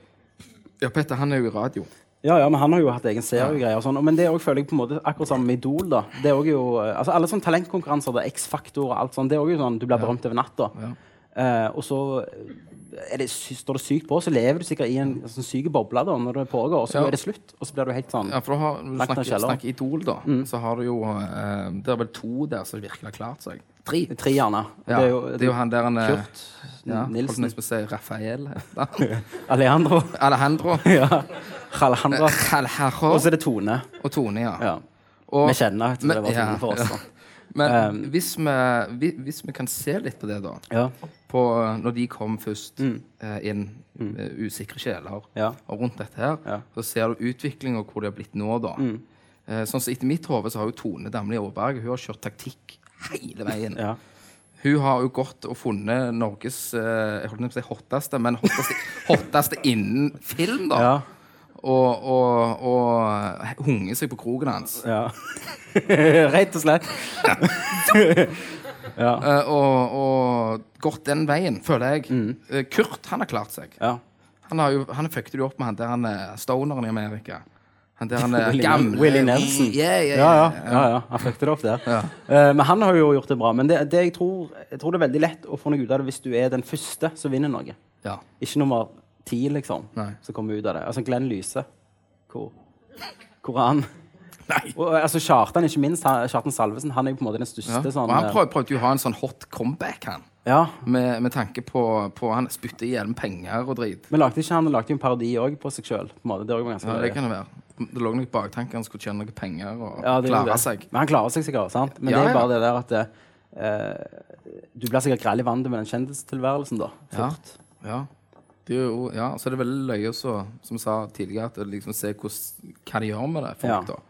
Speaker 3: Ja, Petter, han er jo i radio.
Speaker 1: Ja, ja, men han har jo hatt egen seriegreier og sånn. Men det er også, føler jeg på en måte akkurat sammen med Idol. da. Det er også jo, eh, altså Alle sånne talentkonkurranser, det er X-faktor og alt sånt, det er også jo sånn du blir berømt over natta. Eh, og så eh, er det, sy- står det sykt på, så lever du sikkert i en sånn syk boble da, når det pågår, og så
Speaker 3: Ja.
Speaker 1: er det slutt. Og så blir du helt sånn
Speaker 3: Ja, for da har, når du
Speaker 1: Langt ned Mm.
Speaker 3: snakker,
Speaker 1: kjelleren.
Speaker 3: snakker Idol, da. Så har du jo eh, Det er vel to der som virkelig har klart seg. Tre.
Speaker 1: Tre, gjerne.
Speaker 3: Ja, det, er jo, han der han eh,
Speaker 1: Kurt
Speaker 3: ja,
Speaker 1: Nilsen.
Speaker 3: Nilsen. Jeg skulle si Rafael. *laughs*
Speaker 1: Alejandro. *laughs*
Speaker 3: Alejandro.
Speaker 1: ja. Alejandro.
Speaker 3: Calharo
Speaker 1: Og så er det Tone.
Speaker 3: og Tone, ja.
Speaker 1: Ja.
Speaker 3: Og,
Speaker 1: Vi kjenner at det
Speaker 3: Men-
Speaker 1: var
Speaker 3: ja,
Speaker 1: Tone for oss. da.
Speaker 3: men
Speaker 1: ehm,
Speaker 3: hvis, vi, vi- hvis vi kan se litt på det, da.
Speaker 1: Ja.
Speaker 3: På eh, når de kom først eh, inn, eh, usikre sjeler,
Speaker 1: Mm. Ja.
Speaker 3: og rundt dette her,
Speaker 1: Ja. Mm.
Speaker 3: så ser du utviklinga hvor det har blitt nå, da. Eh, sånn som Etter mitt hode så har jo Tone Damli Aaberge hun har kjørt taktikk hele veien.
Speaker 1: *laughs* Ja.
Speaker 3: Hun har jo gått og funnet Norges eh, jeg holdt på å si hotteste,
Speaker 1: *laughs*
Speaker 3: men hotteste, hotteste innen film, da.
Speaker 1: Ja.
Speaker 3: Og, og, og hunget seg på kroken hans.
Speaker 1: ja. *laughs* Rett og slett.
Speaker 3: Eh, og, og gått den veien, føler jeg.
Speaker 1: Mm.
Speaker 3: Eh, Kurt, han har klart seg.
Speaker 1: Ja.
Speaker 3: Han, har jo, han fucket jo opp med han der han eh, stoneren i Amerika. Han der han eh,
Speaker 1: Willie-
Speaker 3: gamle
Speaker 1: Willie Nelson.
Speaker 3: Yeah, yeah,
Speaker 1: Ja, ja.
Speaker 3: yeah.
Speaker 1: ja, ja. Han fucket det opp der. Eh, men han har jo gjort det bra. Men det, det jeg, tror, jeg tror det er veldig lett å få noe ut av det hvis du er den første som vinner noe.
Speaker 3: Ja.
Speaker 1: Ikke nummer ti, liksom,
Speaker 3: Nei.
Speaker 1: som kommer ut av det. Altså Glenn Lyse. Hvor, hvor er han?
Speaker 3: Nei.
Speaker 1: Og, altså Kjartan, ikke minst. Han, Kjartan Salvesen. Han er jo på en måte den største
Speaker 3: Ja.
Speaker 1: sånn
Speaker 3: og han
Speaker 1: eh,
Speaker 3: prøv, prøvde jo å ha en sånn hot comeback, han.
Speaker 1: Ja.
Speaker 3: Med, med tanke på, på Han spytter i hjel med penger og drit.
Speaker 1: Men lagde ikke han lagde jo en parodi òg på seg sjøl? Det, også var ganske
Speaker 3: Ja, det
Speaker 1: løye.
Speaker 3: kan det være. Det lå noen baktanker. Han skulle tjene noen penger og
Speaker 1: Ja, det er jo
Speaker 3: klare
Speaker 1: det.
Speaker 3: seg.
Speaker 1: Men han klarer seg sikkert. sant? Men
Speaker 3: Ja,
Speaker 1: det
Speaker 3: ja.
Speaker 1: er bare det der at eh, Du blir sikkert grell i vannet med den kjendistilværelsen, da.
Speaker 3: Ja.
Speaker 1: Fort.
Speaker 3: Ja. Det er jo, ja, så er det veldig løye også, som jeg sa tidligere, at liksom se hvordan, hva de gjør med det. Folk,
Speaker 1: Ja.
Speaker 3: da.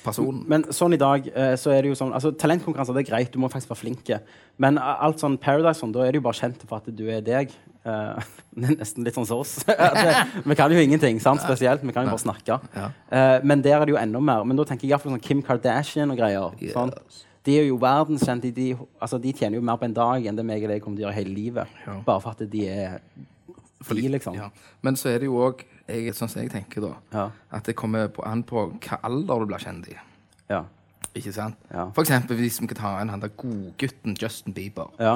Speaker 3: Personen.
Speaker 1: Men sånn i dag, eh, så er det jo sånn Altså, talentkonkurranser, det er greit, du må faktisk være flink. Men eh, alt sånn Paradise sånn, da er det jo bare kjent for at du er deg. Eh, *laughs* det er nesten litt sånn som oss. *laughs* At, eh, vi kan jo ingenting, sant? spesielt. Vi kan jo bare snakke. Eh, men der er det jo enda mer. Men da tenker jeg iallfall sånn Kim Kardashian og greier. sant? De er jo verdenskjente. De, altså, de tjener jo mer på en dag enn det meg og deg kommer til å gjøre hele livet.
Speaker 3: Ja.
Speaker 1: Bare for at de er de, liksom.
Speaker 3: Ja. Men så er det jo òg, sånn som jeg tenker, da,
Speaker 1: Ja.
Speaker 3: at det kommer på, an på hva alder du blir kjent i.
Speaker 1: Ja.
Speaker 3: Ikke sant?
Speaker 1: Ja.
Speaker 3: For eksempel hvis vi kan ta en han der godgutten Justin Bieber.
Speaker 1: Ja.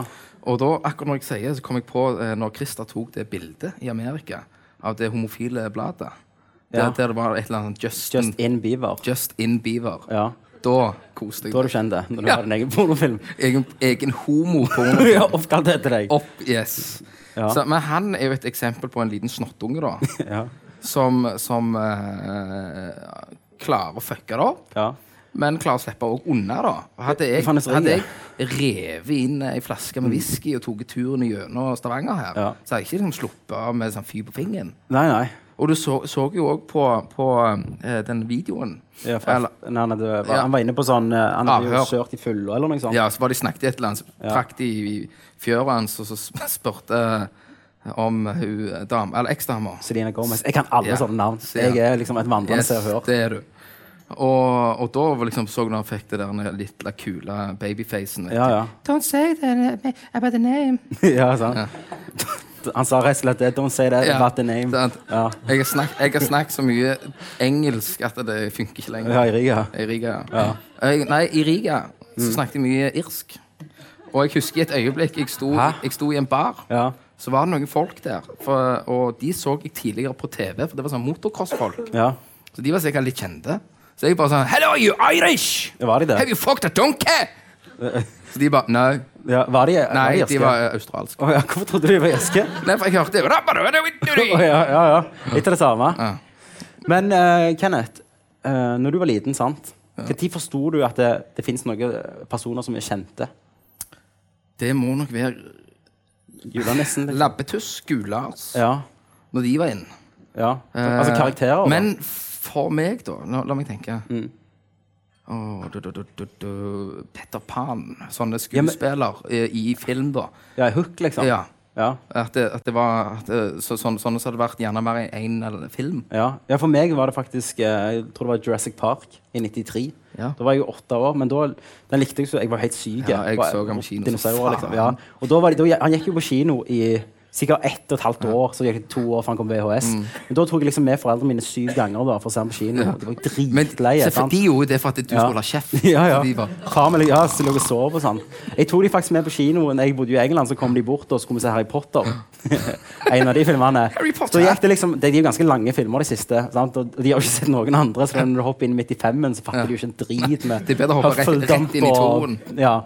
Speaker 3: Og da, akkurat når jeg sier det, så kom jeg på eh, når Christer tok det bildet i Amerika av det homofile bladet. Der,
Speaker 1: Ja.
Speaker 3: der det var et eller annet Justin,
Speaker 1: Just in Beaver.
Speaker 3: Justin Bieber.
Speaker 1: Ja.
Speaker 3: Da koste jeg
Speaker 1: Da har
Speaker 3: meg.
Speaker 1: du kjent det. Når du
Speaker 3: Ja.
Speaker 1: har din egen pornofilm.
Speaker 3: Egen, egen homo
Speaker 1: *laughs*
Speaker 3: på
Speaker 1: ja, oppkalt etter deg.
Speaker 3: opp, yes.
Speaker 1: Ja. *laughs*
Speaker 3: Så, men han er jo et eksempel på en liten snottunge, da.
Speaker 1: Ja.
Speaker 3: som, som eh, klarer å fucke det opp.
Speaker 1: Ja.
Speaker 3: Men klarer å slippe også unna, da. Hadde jeg,
Speaker 1: Det fantes
Speaker 3: hadde
Speaker 1: ringer.
Speaker 3: jeg revet inn ei flaske med whisky og tatt turen gjennom Stavanger her,
Speaker 1: Ja.
Speaker 3: så hadde jeg ikke liksom sluppet av med sånn fyr på fingeren.
Speaker 1: Nei, nei.
Speaker 3: Og du så, så jo òg på, på eh, den videoen
Speaker 1: Ja, for,
Speaker 3: Eller-
Speaker 1: nei, nei, det var,
Speaker 3: Ja.
Speaker 1: Han var inne på sånn eh, Han hadde jo
Speaker 3: Avhør.
Speaker 1: kjørt i fulle eller noe sånt.
Speaker 3: Ja, så var de snakket i et eller annet, så trakk de i fjøret hans, og så sp- spurte eh, om hun eh, dam, eller eksdama.
Speaker 1: Selena Gomez. Jeg kan alle
Speaker 3: Ja.
Speaker 1: sånne navn.
Speaker 3: Se, ja.
Speaker 1: Jeg er liksom et vandrende
Speaker 3: Yes,
Speaker 1: Se og Hør.
Speaker 3: det er du. Og, og da var liksom så du når han fikk det der den lille kule babyfacen. vet
Speaker 1: Ja,
Speaker 3: du.
Speaker 1: ja. *laughs*
Speaker 3: Don't say that about the name.
Speaker 1: ja, sant? Han sa rett og slett det. Don't say that
Speaker 3: Ja,
Speaker 1: about the name.
Speaker 3: sant.
Speaker 1: Ja.
Speaker 3: Jeg har, snakket, jeg har snakket så mye engelsk at det funker ikke lenger.
Speaker 1: Ja, i Riga.
Speaker 3: I Riga. Jeg, nei, i Riga
Speaker 1: Mm.
Speaker 3: så snakket jeg mye irsk. Og jeg husker i et øyeblikk jeg sto, jeg sto i en bar.
Speaker 1: Ja.
Speaker 3: Så var det noen folk der, for, og de så jeg tidligere på TV, for det var sånn motocrossfolk.
Speaker 1: ja.
Speaker 3: Så de var sikkert litt kjente. Så jeg bare sånn Hello, are you Irish?
Speaker 1: Ja, var de det?
Speaker 3: Have you fucked a donkey? Så de bare Nei.
Speaker 1: ja. Var de, var
Speaker 3: Nei,
Speaker 1: de
Speaker 3: de
Speaker 1: irske?
Speaker 3: var eh, australske.
Speaker 1: Å ja, hvorfor trodde du de var irske?
Speaker 3: Nei, for jeg
Speaker 1: Å,
Speaker 3: hørte det.
Speaker 1: ja, ja, ja. Litt av det samme. Men eh, Kenneth, uh, når du var liten, sant Når forsto du at det, det fins noen personer som er kjente?
Speaker 3: Det må nok være
Speaker 1: Julenissen? liksom.
Speaker 3: labbetuss, Gulars,
Speaker 1: Ja.
Speaker 3: når de var inne.
Speaker 1: ja. Altså karakterer? da.
Speaker 3: Eh,
Speaker 1: Mm.
Speaker 3: Men for meg, da La, la meg tenke. Åh, du, du, du, du, du, Petter Pan, sånne
Speaker 1: men-
Speaker 3: skuespiller eh, i film, da.
Speaker 1: Ja, Hook, liksom?
Speaker 3: Ja.
Speaker 1: Ja.
Speaker 3: At det, at det var at det, så, sånn, sånn så hadde det vært gjerne mer i én eller film.
Speaker 1: Ja. ja, for meg var det faktisk eh, Jeg tror det var Jurassic Park i 93.
Speaker 3: Ja.
Speaker 1: Da var jeg jo åtte år, men da, den likte jeg så Jeg var helt syk.
Speaker 3: Ja, jeg
Speaker 1: Bare-
Speaker 3: så ham på kino, så
Speaker 1: Dinosaurer,
Speaker 3: faen.
Speaker 1: liksom. Ja. Og da var de, da, han gikk jo på kino i sikkert ett og et halvt år, så gikk det to år før han kom VHS.
Speaker 3: Mm.
Speaker 1: Men da tok jeg liksom med foreldrene mine syv ganger da, for å se ham på kino. Og det var jo
Speaker 3: Men
Speaker 1: dritleie.
Speaker 3: selvfø-
Speaker 1: sant?
Speaker 3: de gjorde det for at du
Speaker 1: Ja.
Speaker 3: skulle holde kjeft.
Speaker 1: *laughs* Ja, ja.
Speaker 3: Så de var-
Speaker 1: Far min ja, så lå og sov og sånn. Jeg tok de faktisk med på kinoen. Jeg bodde jo i England, så kom de bort og så skulle vi se Harry Potter. *laughs* en av de filmene.
Speaker 3: Harry Potter!
Speaker 1: Så gikk det liksom, det- De er jo ganske lange filmer, de siste. Sant? Og de har jo ikke sett noen andre, så når du hopper inn midt i femmen, så fatter de jo ikke en drit med
Speaker 3: Det er bedre å hoppe rett-
Speaker 1: Huffledump
Speaker 3: rett inn i toeren.
Speaker 1: Og, ja.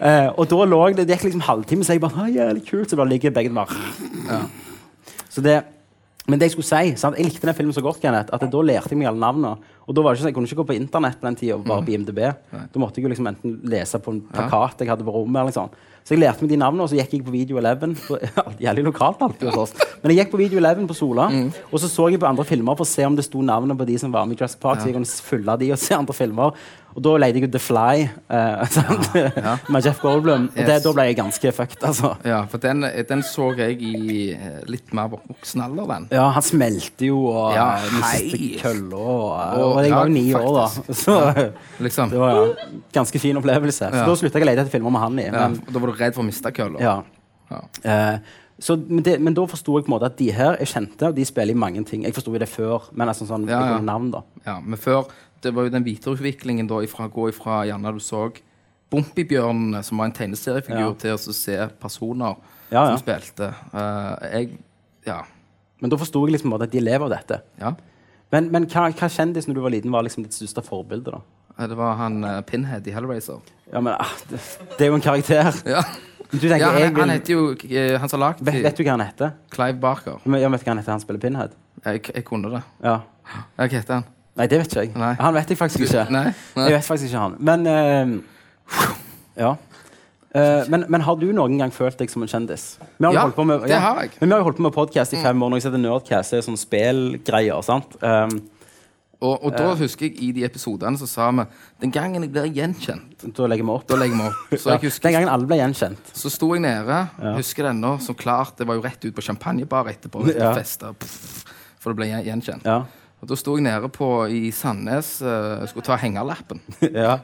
Speaker 1: *laughs* Eh, og da lå jeg, det gikk liksom halvtime, så jeg bare «Å, Jævlig kult. Så bare ligger begge bare Så det men det jeg skulle si, sant? jeg likte den filmen så godt, Kenneth, at da lærte jeg meg alle navnene. Og da var det ikke sånn, Jeg kunne ikke gå på internett på den tida og bare på IMDb. Da måtte jeg jo liksom enten lese på en plakat jeg hadde på rommet. eller sånn. Så jeg lærte meg de navnene, og så gikk jeg på Video 11. på- *laughs* Jævlig lokalt alltid hos oss. Men jeg gikk på Video 11 på Sola, og så så jeg på andre filmer for å se om det sto navnene på de som var med i Jurassic Park. så jeg kunne følge de og se andre filmer. Og da leide jeg jo The Fly eh, *laughs* sant? med Jeff Goldblum. Og det,
Speaker 3: Yes.
Speaker 1: da ble jeg ganske fucked, altså.
Speaker 3: Ja, for den, den så jeg i eh, litt mer voksen alder, den.
Speaker 1: Ja, han smelte jo og
Speaker 3: Ja,
Speaker 1: eh, mistet
Speaker 3: hei.
Speaker 1: kølla. Og,
Speaker 3: Og-
Speaker 1: og jeg var jo
Speaker 3: ja,
Speaker 1: ni år da, *laughs* så
Speaker 3: Liksom.
Speaker 1: det var ja, ganske fin opplevelse. Så
Speaker 3: Ja.
Speaker 1: da slutta jeg å lete etter filmer med han i.
Speaker 3: Ja,
Speaker 1: Men,
Speaker 3: da var du redd for å miste kølla.
Speaker 1: ja.
Speaker 3: Ja.
Speaker 1: Eh, så, men, det, men da forsto jeg på en måte at de her er kjente, og de spiller i mange ting. Jeg forsto jo det før, men altså sånn
Speaker 3: Ja, ja.
Speaker 1: pga. navn, da.
Speaker 3: Ja, men før, det var jo den videreutviklingen da, ifra å gå ifra gjerne du så Bompibjørnene, som var en tegneseriefigur,
Speaker 1: Ja.
Speaker 3: til å så se personer
Speaker 1: Ja, ja.
Speaker 3: som spilte. Eh, jeg Ja.
Speaker 1: Men da forsto jeg liksom på en måte at de lever av dette.
Speaker 3: ja.
Speaker 1: Men, men hva, hva kjendis når du var liten, var liksom ditt største forbilde? da?
Speaker 3: Eh, Det var han eh, Pinhead i Hellraiser.
Speaker 1: Ja, men ah, det, det er jo en karakter.
Speaker 3: Ja,
Speaker 1: Du tenker,
Speaker 3: ja
Speaker 1: jeg
Speaker 3: han,
Speaker 1: vil,
Speaker 3: han heter jo eh, Han som lagde
Speaker 1: vet, vet du hva han heter?
Speaker 3: Clive Barker.
Speaker 1: Men Jeg vet ikke hva han heter, han spiller Pinhead.
Speaker 3: Jeg, jeg kunne det.
Speaker 1: Ja.
Speaker 3: Ja, Hva heter han?
Speaker 1: Nei, det vet ikke jeg.
Speaker 3: Nei.
Speaker 1: Han vet jeg faktisk ikke.
Speaker 3: Nei, nei.
Speaker 1: Jeg vet faktisk ikke han. Men ehm, Ja. Eh, men, men har du noen gang følt deg som en kjendis? Vi har jo
Speaker 3: Ja,
Speaker 1: holdt på med,
Speaker 3: det har jeg. Mm.
Speaker 1: Men vi har jo holdt på med podkast i fem år. Når jeg setter Nerdcast, det er sånn spelgreier. sant? Ehm,
Speaker 3: Og, og da husker jeg i de episodene så sa vi Den gangen jeg blir gjenkjent,
Speaker 1: da legger vi opp.
Speaker 3: da legger vi opp.
Speaker 1: *laughs*
Speaker 3: Så jeg
Speaker 1: ja.
Speaker 3: husker
Speaker 1: Den gangen alle ble gjenkjent.
Speaker 3: Så sto jeg nede, husker det ennå, som klart Det var jo rett ut på champagnebar etterpå.
Speaker 1: Ja.
Speaker 3: Ja. Fester, pff, for det ble gjen- gjenkjent.
Speaker 1: Ja.
Speaker 3: Og Da sto jeg nede på, i Sandnes, eh, skulle ta hengerlappen.
Speaker 1: ja.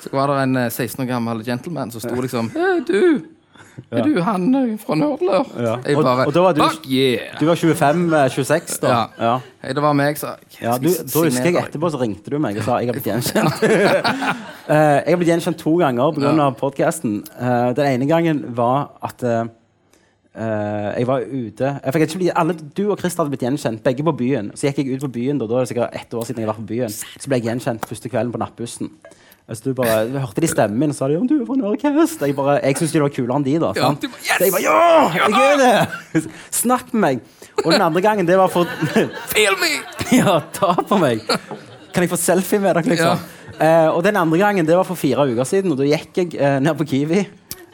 Speaker 3: Så var det en eh, 16 år gammel gentleman som sto liksom Hei, du! Er du han eh, fra Nordlør?
Speaker 1: Ja.
Speaker 3: Jeg
Speaker 1: Og-
Speaker 3: bare
Speaker 1: og da var du-
Speaker 3: Fuck yeah!
Speaker 1: Du var 25-26 da.
Speaker 3: Ja.
Speaker 1: ja.
Speaker 3: Hei, det var meg, sa jeg.
Speaker 1: Ja, du, da husker jeg etterpå så ringte du meg og sa jeg har blitt gjenkjent. *laughs* Eh, jeg har blitt gjenkjent to ganger pga. Ja. podkasten. Eh, den ene gangen var at eh, eh, jeg var ute jeg fikk ikke bli, alle, Du og Christer hadde blitt gjenkjent, begge på byen. Så gikk jeg ut på byen, da, da er det sikkert ett år siden jeg var på byen. Så ble jeg gjenkjent første kvelden på nattbussen. Altså, du bare, jeg hørte de stemmen min, og så sa de om du er fra Nørkast. Jeg, bare- jeg syntes de var kulere enn de, da. sant?
Speaker 3: du bare, yes!
Speaker 1: Så jeg bare ja! Jeg er det! *laughs* Snakk med meg. Og den andre gangen, det var for *laughs*
Speaker 3: Feel me!
Speaker 1: Ja, ta på meg! Kan jeg få selfie med dere, liksom? Eh, og den andre gangen, det var for fire uker siden, og da gikk jeg eh, ned på Kiwi.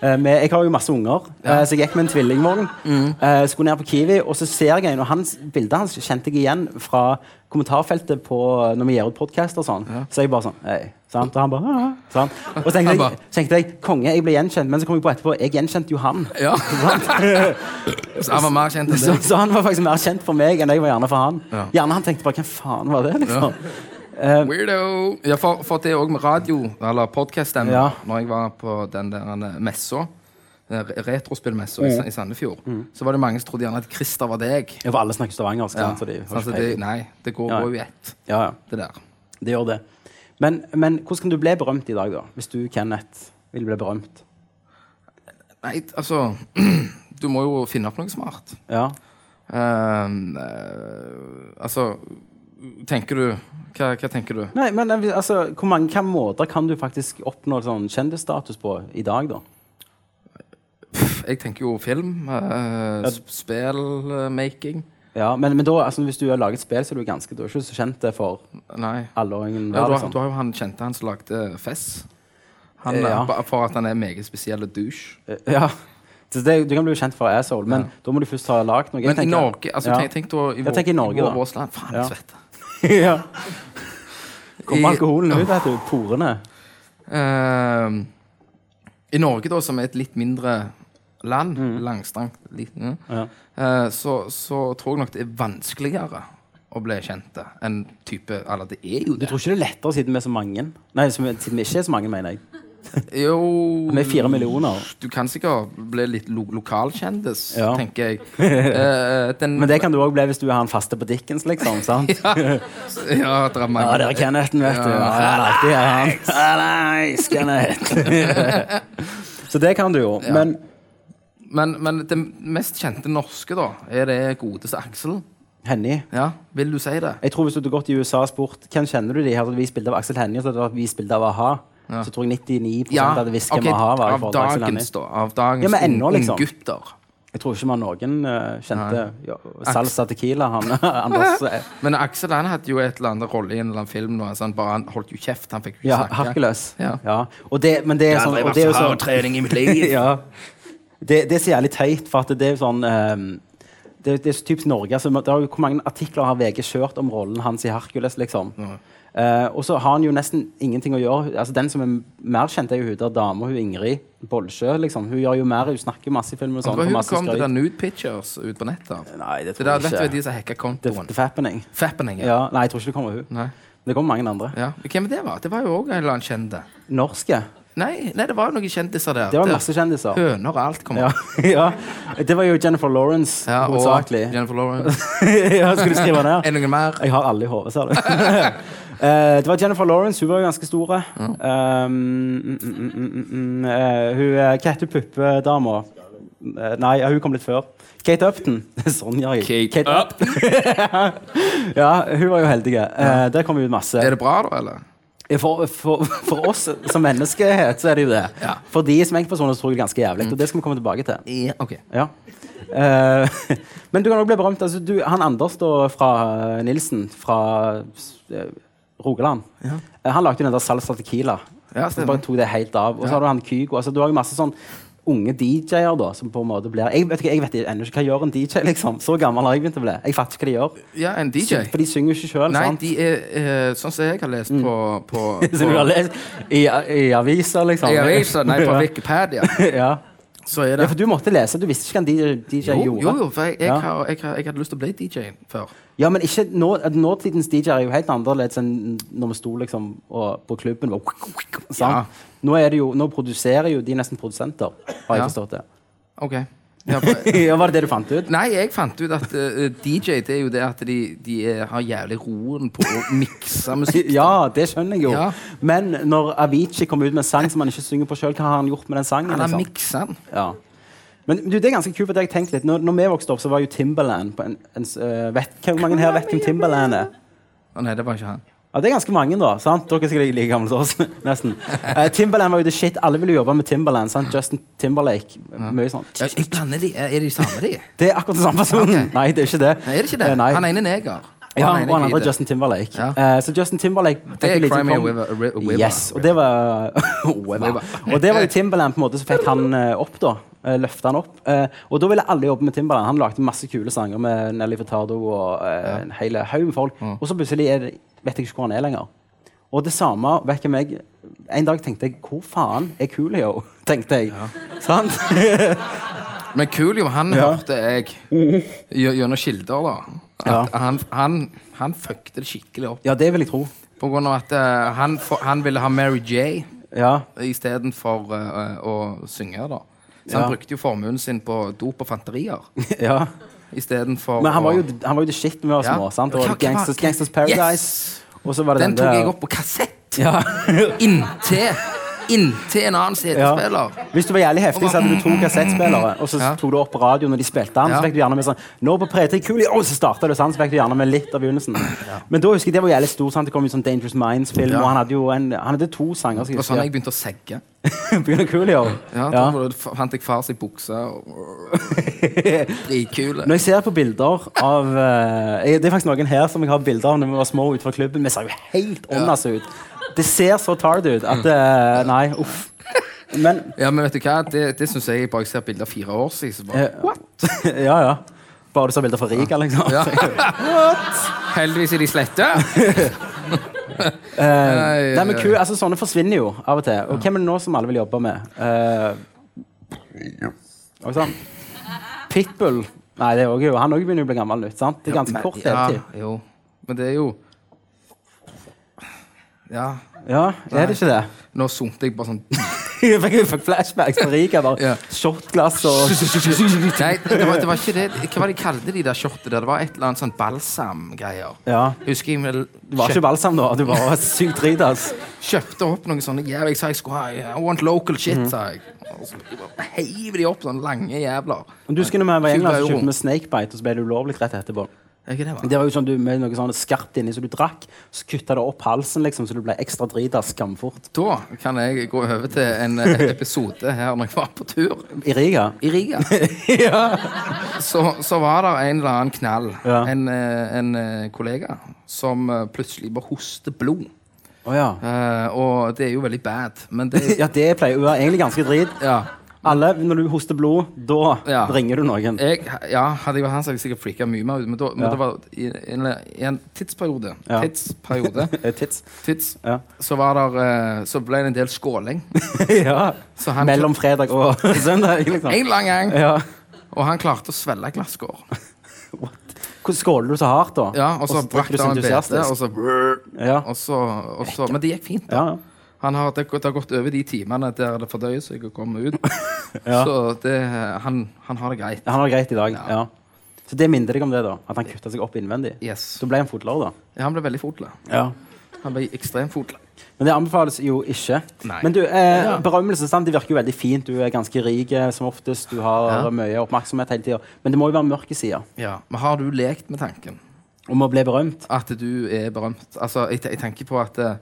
Speaker 1: eh, Med, jeg har jo masse unger, eh, så jeg gikk med en tvillingvogn.
Speaker 3: Mm.
Speaker 1: eh, skulle ned på Kiwi, og så ser jeg en, og hans, bildet hans kjente jeg igjen fra kommentarfeltet på eh, når vi gjør ut podkast og sånn. Så jeg bare sånn Hei. Sant? Og han bare «Ja, ja», sant? Og så tenkte
Speaker 3: Han
Speaker 1: jeg,
Speaker 3: bare-
Speaker 1: så tenkte jeg konge, jeg ble gjenkjent, men så kom jeg på etterpå jeg gjenkjente jo han. *laughs*
Speaker 3: Ja. *laughs* Så han var mer kjent enn
Speaker 1: Så,
Speaker 3: deg.
Speaker 1: så han var faktisk mer kjent for meg enn jeg var gjerne for han.
Speaker 3: Ja.
Speaker 1: Gjerne han tenkte bare Hvem faen var det? liksom?
Speaker 3: Weirdo. Ja, for, for det òg med radio, eller podkast-stemmen.
Speaker 1: Ja.
Speaker 3: Når jeg var på den der eh, messa, den re- retrospillmessa
Speaker 1: Mm.
Speaker 3: i Sa- i Sandefjord, så var det mange som trodde gjerne at Christer var deg.
Speaker 1: Ja, for alle snakker stavangersk.
Speaker 3: Ja.
Speaker 1: sant, så de har
Speaker 3: altså,
Speaker 1: ikke
Speaker 3: det,
Speaker 1: peiling.
Speaker 3: nei, det går
Speaker 1: Ja.
Speaker 3: går jo i ett,
Speaker 1: ja, ja,
Speaker 3: det der.
Speaker 1: det gjør det. Men, men hvordan kan du bli berømt i dag, da? Hvis du, Kenneth, vil bli berømt?
Speaker 3: Nei, altså *clears throat* Du må jo finne opp noe smart.
Speaker 1: Ja.
Speaker 3: Ehm, eh, altså Tenker du Hva, hva tenker du?
Speaker 1: Nei, men eh, altså, hvor mange hvilke måter kan du faktisk oppnå sånn kjendisstatus på i dag, da?
Speaker 3: Jeg tenker jo film, uh, spillmaking
Speaker 1: Ja, men, men da, altså, hvis du har laget spill, så er du ganske du er ikke så kjent det for
Speaker 3: Nei.
Speaker 1: alle og ingen.
Speaker 3: Ja, du, har,
Speaker 1: liksom.
Speaker 3: du har jo han kjente han som lagde Fess. Han,
Speaker 1: Eh, ja.
Speaker 3: eh, ba- For at han er meget spesiell og douche.
Speaker 1: Ja. Så det, du kan bli kjent for asshole, men da må du først ha lagd noe. Jeg
Speaker 3: Men
Speaker 1: tenker-
Speaker 3: i Norge altså,
Speaker 1: ja.
Speaker 3: tenk, tenk da i,
Speaker 1: Jeg tenker i Norge, da.
Speaker 3: vårt land. Faen,
Speaker 1: Ja.
Speaker 3: jeg svetter.
Speaker 1: *laughs* ja. *laughs* Kommer
Speaker 3: I-
Speaker 1: alkoholen ut, vet du. Porene.
Speaker 3: Ehm, I Norge, da, som er et litt mindre land, langstrangt liten,
Speaker 1: Mm. Ja.
Speaker 3: eh, så, så tror jeg nok det er vanskeligere å bli kjent enn type Eller det er jo
Speaker 1: Du
Speaker 3: det.
Speaker 1: tror ikke det er lettere siden vi er så mange? Nei, som- siden vi ikke er så mange, mener jeg.
Speaker 3: Jo
Speaker 1: Vi er fire millioner.
Speaker 3: Du kan sikkert bli litt lo lokalkjendis,
Speaker 1: Ja.
Speaker 3: tenker
Speaker 1: *laughs*
Speaker 3: jeg. Eh, den,
Speaker 1: Men det kan du òg bli hvis du har han faste på Dickens, liksom. sant?
Speaker 3: Ja, *laughs* ja det er
Speaker 1: Ja,
Speaker 3: mange.
Speaker 1: der er Kenneth, vet du. Ja, det er alltid han. Hallais, Kenneth. *laughs* Så det kan du jo. Men
Speaker 3: Men, men det mest kjente norske, da, er det godeste Aksel.
Speaker 1: Henny
Speaker 3: Ja, vil du si det?
Speaker 1: Jeg tror Hvis du hadde gått i USA og spurt hvem kjenner du de her, så hadde vi vist bilde av Aksel Hennie og så hadde det vært vist bilde av a-ha. Så tror jeg 99 hadde visst hvem
Speaker 3: ok,
Speaker 1: a-ha var. i
Speaker 3: av
Speaker 1: forhold til Aksel
Speaker 3: dagens,
Speaker 1: Hennie.
Speaker 3: da. Av dagens
Speaker 1: Ja, men ennå,
Speaker 3: ung-
Speaker 1: liksom.
Speaker 3: unggutter.
Speaker 1: Jeg tror ikke vi har noen eh, kjente ja, Salsa Tequila, han *laughs* Anders.
Speaker 3: *laughs*
Speaker 1: eh,
Speaker 3: Men Aksel han hadde jo et eller annet rolle i en eller annen film nå. Så han bare han holdt jo kjeft. Han fikk jo ikke
Speaker 1: Ja,
Speaker 3: snakke.
Speaker 1: Harkeløs.
Speaker 3: Ja.
Speaker 1: Ja. Og det, men det er sånn og det er jo sånn-
Speaker 3: trening i mitt
Speaker 1: *laughs*
Speaker 3: liv.
Speaker 1: ja. det, det er så jævlig teit, for at det er jo sånn ehm, det, det er så typisk Norge. Altså, det har jo, hvor mange artikler har VG kjørt om rollen hans i Hercules? liksom? Eh, og så har han jo nesten ingenting å gjøre. Altså, Den som er mer kjent, er jo hun der dama, hun Ingrid Bolsjø. liksom. Hun gjør jo mer, hun snakker masse i film og sånn.
Speaker 3: Det var
Speaker 1: får
Speaker 3: hun
Speaker 1: masse
Speaker 3: som kom til
Speaker 1: skryt.
Speaker 3: den Nude Pictures ut på nettet. av.
Speaker 1: Nei, det
Speaker 3: Det
Speaker 1: tror jeg
Speaker 3: der, vet du
Speaker 1: ikke.
Speaker 3: hva de som hacka
Speaker 1: Det,
Speaker 3: kontoen?
Speaker 1: det Fappening.
Speaker 3: Fappening. Ja.
Speaker 1: Ja, nei, jeg tror ikke det kommer hun.
Speaker 3: Nei.
Speaker 1: Det kommer mange andre.
Speaker 3: Ja. Hvem det var? Det var jo òg en eller annen kjente.
Speaker 1: Norske.
Speaker 3: Nei, nei, det var jo noen kjentiser der.
Speaker 1: Det var masse kjendiser.
Speaker 3: Høner og alt kom
Speaker 1: Ja,
Speaker 3: opp.
Speaker 1: ja. *laughs* Det var jo Jennifer Lawrence
Speaker 3: Ja, og
Speaker 1: hovedsakelig.
Speaker 3: Jennifer Lawrence.
Speaker 1: *laughs* ja, skal du skrive ned?
Speaker 3: Er det noen mer?
Speaker 1: Jeg har alle i hodet, ser du. *laughs* Eh, det var Jennifer Lawrence, hun var jo ganske stor. Um, mm, mm, mm, mm, mm, eh, hun eh, Hva heter hun puppedama? Eh, nei, ja, hun kom litt før. Kate Upton. *laughs* sånn gjør jeg. Upton. *laughs* ja, hun var jo heldig. Eh, der kom jo ut masse.
Speaker 3: Er det bra, da, eller?
Speaker 1: For, for, for oss som menneskehet, så er det jo det.
Speaker 3: Ja.
Speaker 1: For de som enkeltpersoner, så tror jeg det er ganske jævlig. Og det skal vi komme tilbake til.
Speaker 3: Ja, ok.
Speaker 1: Ja. Eh, *laughs* men du kan også bli berømt. Altså, du, han Anders da, fra eh, Nilsen fra eh, Rogaland, eh, han lagde jo den der Salsa Tequila.
Speaker 3: Ja,
Speaker 1: så
Speaker 3: stemmer.
Speaker 1: bare tok det helt av. Og så har du han Kygo. Altså, du har jo masse sånn unge DJ-er da, som på en måte blir Jeg vet, ikke, jeg vet ennå ikke hva gjør en DJ, liksom. Så gammel har jeg begynt å bli. Jeg fatter ikke hva de gjør.
Speaker 3: Ja, en DJ.
Speaker 1: Syng- For de synger jo ikke sjøl,
Speaker 3: Nei,
Speaker 1: sant? Mm.
Speaker 3: de er eh, sånn som jeg har lest på, på,
Speaker 1: *laughs* Så du har
Speaker 3: på
Speaker 1: lest i, i aviser, liksom?
Speaker 3: i aviser, nei, på Wikipedia,
Speaker 1: *laughs* ja.
Speaker 3: så er
Speaker 1: ja,
Speaker 3: det
Speaker 1: for du måtte lese. Du visste ikke hva en DJ,
Speaker 3: Jo,
Speaker 1: gjorde.
Speaker 3: jo, jo, for jeg, jeg,
Speaker 1: Ja.
Speaker 3: har, jeg, har, jeg hadde lyst til å bli DJ før.
Speaker 1: Ja, men ikke nå, at nåtidens DJ-er er jo helt annerledes enn når vi sto liksom, og, på klubben. Og, sant?
Speaker 3: Ja.
Speaker 1: sånn. Nå, er det jo, nå produserer jo de nesten produsenter, har jeg
Speaker 3: Ja.
Speaker 1: forstått det. *laughs*
Speaker 3: OK. Ja, for,
Speaker 1: ja, var det det du fant
Speaker 3: *laughs*
Speaker 1: ut?
Speaker 3: nei, jeg fant ut at eh, DJ det er jo det at de, de er, har jævlig roen på å
Speaker 1: *laughs*
Speaker 3: mikse musikk.
Speaker 1: Ja, det skjønner jeg jo.
Speaker 3: Ja.
Speaker 1: Men når Avicii kom ut med en sang som han ikke synger på sjøl, hva har han gjort med den sangen?
Speaker 3: Han har
Speaker 1: liksom?
Speaker 3: miksa den.
Speaker 1: Ja. Men du, det er ganske kult, for det har jeg tenkt litt. Når, når vi vokste opp, så var eh, jo Timberland på en, en s- øh, vet, Hvor mange her vet hvem Timberland er?
Speaker 3: Å nei, det var ikke han.
Speaker 1: Ja, Det er ganske mange, da. sant? Dere er sikkert like gamle som oss. *laughs* nesten. Eh, Timberland var jo det shit. Alle ville jo jobbe med Timberland. sant? Justin Timberlake. Mye sånn.
Speaker 3: Jeg, jeg blander de. Er er de samme, de?
Speaker 1: Det er akkurat den samme personen! *laughs* Nei, det er ikke det.
Speaker 3: Nei, er det ikke
Speaker 1: Eh,
Speaker 3: det?
Speaker 1: *laughs* Nei.
Speaker 3: Han ene er neger.
Speaker 1: Ja, og han
Speaker 3: ene
Speaker 1: andre
Speaker 3: er
Speaker 1: er Justin Timberlake.
Speaker 3: Ja.
Speaker 1: Eh, så Justin Timberlake fikk
Speaker 3: Det
Speaker 1: jo
Speaker 3: er
Speaker 1: lite
Speaker 3: Cry Me a
Speaker 1: kom-
Speaker 3: River. a ri- a river.
Speaker 1: Yes, og det var *laughs* Weber. Og det var jo Timberland på en måte som fikk han eh, opp, da. Eh, Løftet han opp. Eh, Og da ville alle jobbe med Timberland. Han lagde masse kule sanger med Nelly Furtado og eh, en hel haug med folk.
Speaker 3: Mm.
Speaker 1: Og så plutselig er det, vet jeg ikke hvor han er lenger. Og det samme vekker meg En dag tenkte jeg Hvor faen er Coolio? *laughs* Tenkte jeg.
Speaker 3: *laughs*
Speaker 1: Sant?
Speaker 3: Men Coolio, han hørte jeg gjø- gjennom kilder, da. At
Speaker 1: Ja.
Speaker 3: han, han, han fucket det skikkelig opp.
Speaker 1: Ja, det vil jeg tro.
Speaker 3: På grunn av at eh, han, for, han ville ha Mary J
Speaker 1: Ja. *laughs*
Speaker 3: istedenfor uh, å synge, da. Så
Speaker 1: Ja.
Speaker 3: han brukte jo formuen sin på dop og fanterier
Speaker 1: ja.
Speaker 3: istedenfor
Speaker 1: *laughs* Men han var jo,
Speaker 3: å-
Speaker 1: han var jo the shit med oss
Speaker 3: Ja.
Speaker 1: små. Sant? Og
Speaker 3: Hva- hva-
Speaker 1: Gangsters, Gangsters Paradise.
Speaker 3: Yes!
Speaker 1: Og så var det
Speaker 3: Den
Speaker 1: den,
Speaker 3: tok
Speaker 1: der-
Speaker 3: jeg opp på kassett!
Speaker 1: Ja.
Speaker 3: *laughs*
Speaker 1: *laughs*
Speaker 3: Inntil Inntil en annen CD-spiller.
Speaker 1: Hvis du var jævlig heftig, så hadde du to kassettspillere, og så
Speaker 3: Ja.
Speaker 1: tok du opp radio når de spilte den.
Speaker 3: Ja.
Speaker 1: Så fikk du gjerne med sånn Nå på P3 Kuli, og så starta du sånn. Så fikk du gjerne med litt av begynnelsen. Men da husker jeg det var jævlig stor, sant? Det kom jo sånn Dangerous Minds-film, og han hadde jo en, han hadde to sanger.
Speaker 3: Det var sånn jeg begynte å segge.
Speaker 1: *laughs* Begynner Coolio.
Speaker 3: Ja, Da var det- fant jeg fars i buksa.
Speaker 1: *laughs*
Speaker 3: og- Dritkule.
Speaker 1: Når jeg ser på bilder av eh, jeg- Det er faktisk noen her som jeg har bilder av når vi var små utenfor klubben. Vi ser jo helt åndas ut. Det ser så tard ut at eh, Nei, uff. Men
Speaker 3: Ja, men vet du hva? Det, det syns jeg bare jeg ser bilder fire år siden. Så bare,
Speaker 1: What? *laughs* ja, ja. Bare du ser bilder fra Riga, liksom. *laughs*
Speaker 3: ja. Heldigvis er de slette.
Speaker 1: Eh, Nei, men ku, altså Sånne forsvinner jo av og til. Og hvem er det nå som alle vil jobbe med? Uh, og sånn. Pitbull. Nei, det er også jo, han også begynner jo å bli gammel. Ut, sant? Det er ganske kort
Speaker 3: ja,
Speaker 1: levetid.
Speaker 3: jo. Men det er jo Ja.
Speaker 1: Ja, er det ikke det? *laughs*
Speaker 3: Nå sumpte jeg bare sånn
Speaker 1: Jeg fikk, jeg fikk flashbacks fra Riga. Bare
Speaker 3: Ja.
Speaker 1: shotglass og
Speaker 3: Nei, det var, det var ikke det Hva var det de kalte de der shortene der? Det var et eller annet sånn balsamgreier.
Speaker 1: Ja.
Speaker 3: Husker jeg vel
Speaker 1: Det var ikke balsam da. Du var sykt dritas.
Speaker 3: kjøpte opp noen sånne jævla Jeg sa jeg skulle ha I want local shit, sa jeg. Og så bare heiver de opp sånne lange jævler.
Speaker 1: Men du husker når vi var i England, så
Speaker 3: Tjue euro.
Speaker 1: kjøpte vi Snakebite, og så ble det ulovlig rett etterpå.
Speaker 3: Er ikke det, hva?
Speaker 1: Det var jo sånn du med noe sånn skarpt inni, så du drakk, så kutta det opp halsen, liksom, så du ble ekstra dritas skamfort.
Speaker 3: Da kan jeg gå over til en *laughs* eh, episode her når jeg var på tur
Speaker 1: I Riga?
Speaker 3: *laughs* i Riga. så, så var det en eller annen knall.
Speaker 1: Ja.
Speaker 3: En, eh, en eh, kollega som eh, plutselig bare hoster blod.
Speaker 1: Å ja.
Speaker 3: Eh, og det er jo veldig bad, men det *laughs* er
Speaker 1: Ja, det pleier å være egentlig ganske drit.
Speaker 3: ja.
Speaker 1: Alle, når du hoster blod, da
Speaker 3: Ja.
Speaker 1: ringer du noen.
Speaker 3: Jeg, ja, hadde jeg vært han, så hadde jeg sikkert freaka mye mer ut. Men, da, men
Speaker 1: Ja.
Speaker 3: det var i, en, i en tidsperiode,
Speaker 1: Ja.
Speaker 3: tidsperiode
Speaker 1: Eh, Tits.
Speaker 3: tids,
Speaker 1: Ja.
Speaker 3: så, var der, eh, så ble det en del skåling.
Speaker 1: *laughs* ja.
Speaker 3: Så han-
Speaker 1: Mellom fredag og *laughs* søndag, liksom.
Speaker 3: En lang gang.
Speaker 1: Ja.
Speaker 3: Og han klarte å svelge et glasskår.
Speaker 1: Hvordan skåler du så hardt, da?
Speaker 3: Ja, og så
Speaker 1: drikker
Speaker 3: brakk
Speaker 1: du så
Speaker 3: han en bete,
Speaker 1: entusiastisk.
Speaker 3: og så,
Speaker 1: Ja.
Speaker 3: og så, og så Men det gikk fint.
Speaker 1: Ja.
Speaker 3: Han har, det, det har gått over de timene der det fordøyer seg å komme ut.
Speaker 1: *laughs* Ja.
Speaker 3: Så det, eh, han, han har det greit.
Speaker 1: Han har det greit i dag. Ja. Så det minner deg om det, da? At han kutta seg opp innvendig?
Speaker 3: Yes.
Speaker 1: Så ble han fotlår, da?
Speaker 3: Ja, han ble veldig fotle.
Speaker 1: Ja.
Speaker 3: Han ble ekstremt fotle.
Speaker 1: Men det anbefales jo ikke.
Speaker 3: Nei.
Speaker 1: Men du, eh, berømmelse sant? det virker jo veldig fint. Du er ganske rik eh, som oftest. Du har
Speaker 3: Ja.
Speaker 1: mye oppmerksomhet hele tida. Men det må jo være mørke sider
Speaker 3: Ja. Men har du lekt med tanken
Speaker 1: om å bli berømt.
Speaker 3: at du er berømt? Altså, jeg, te- jeg tenker på at eh,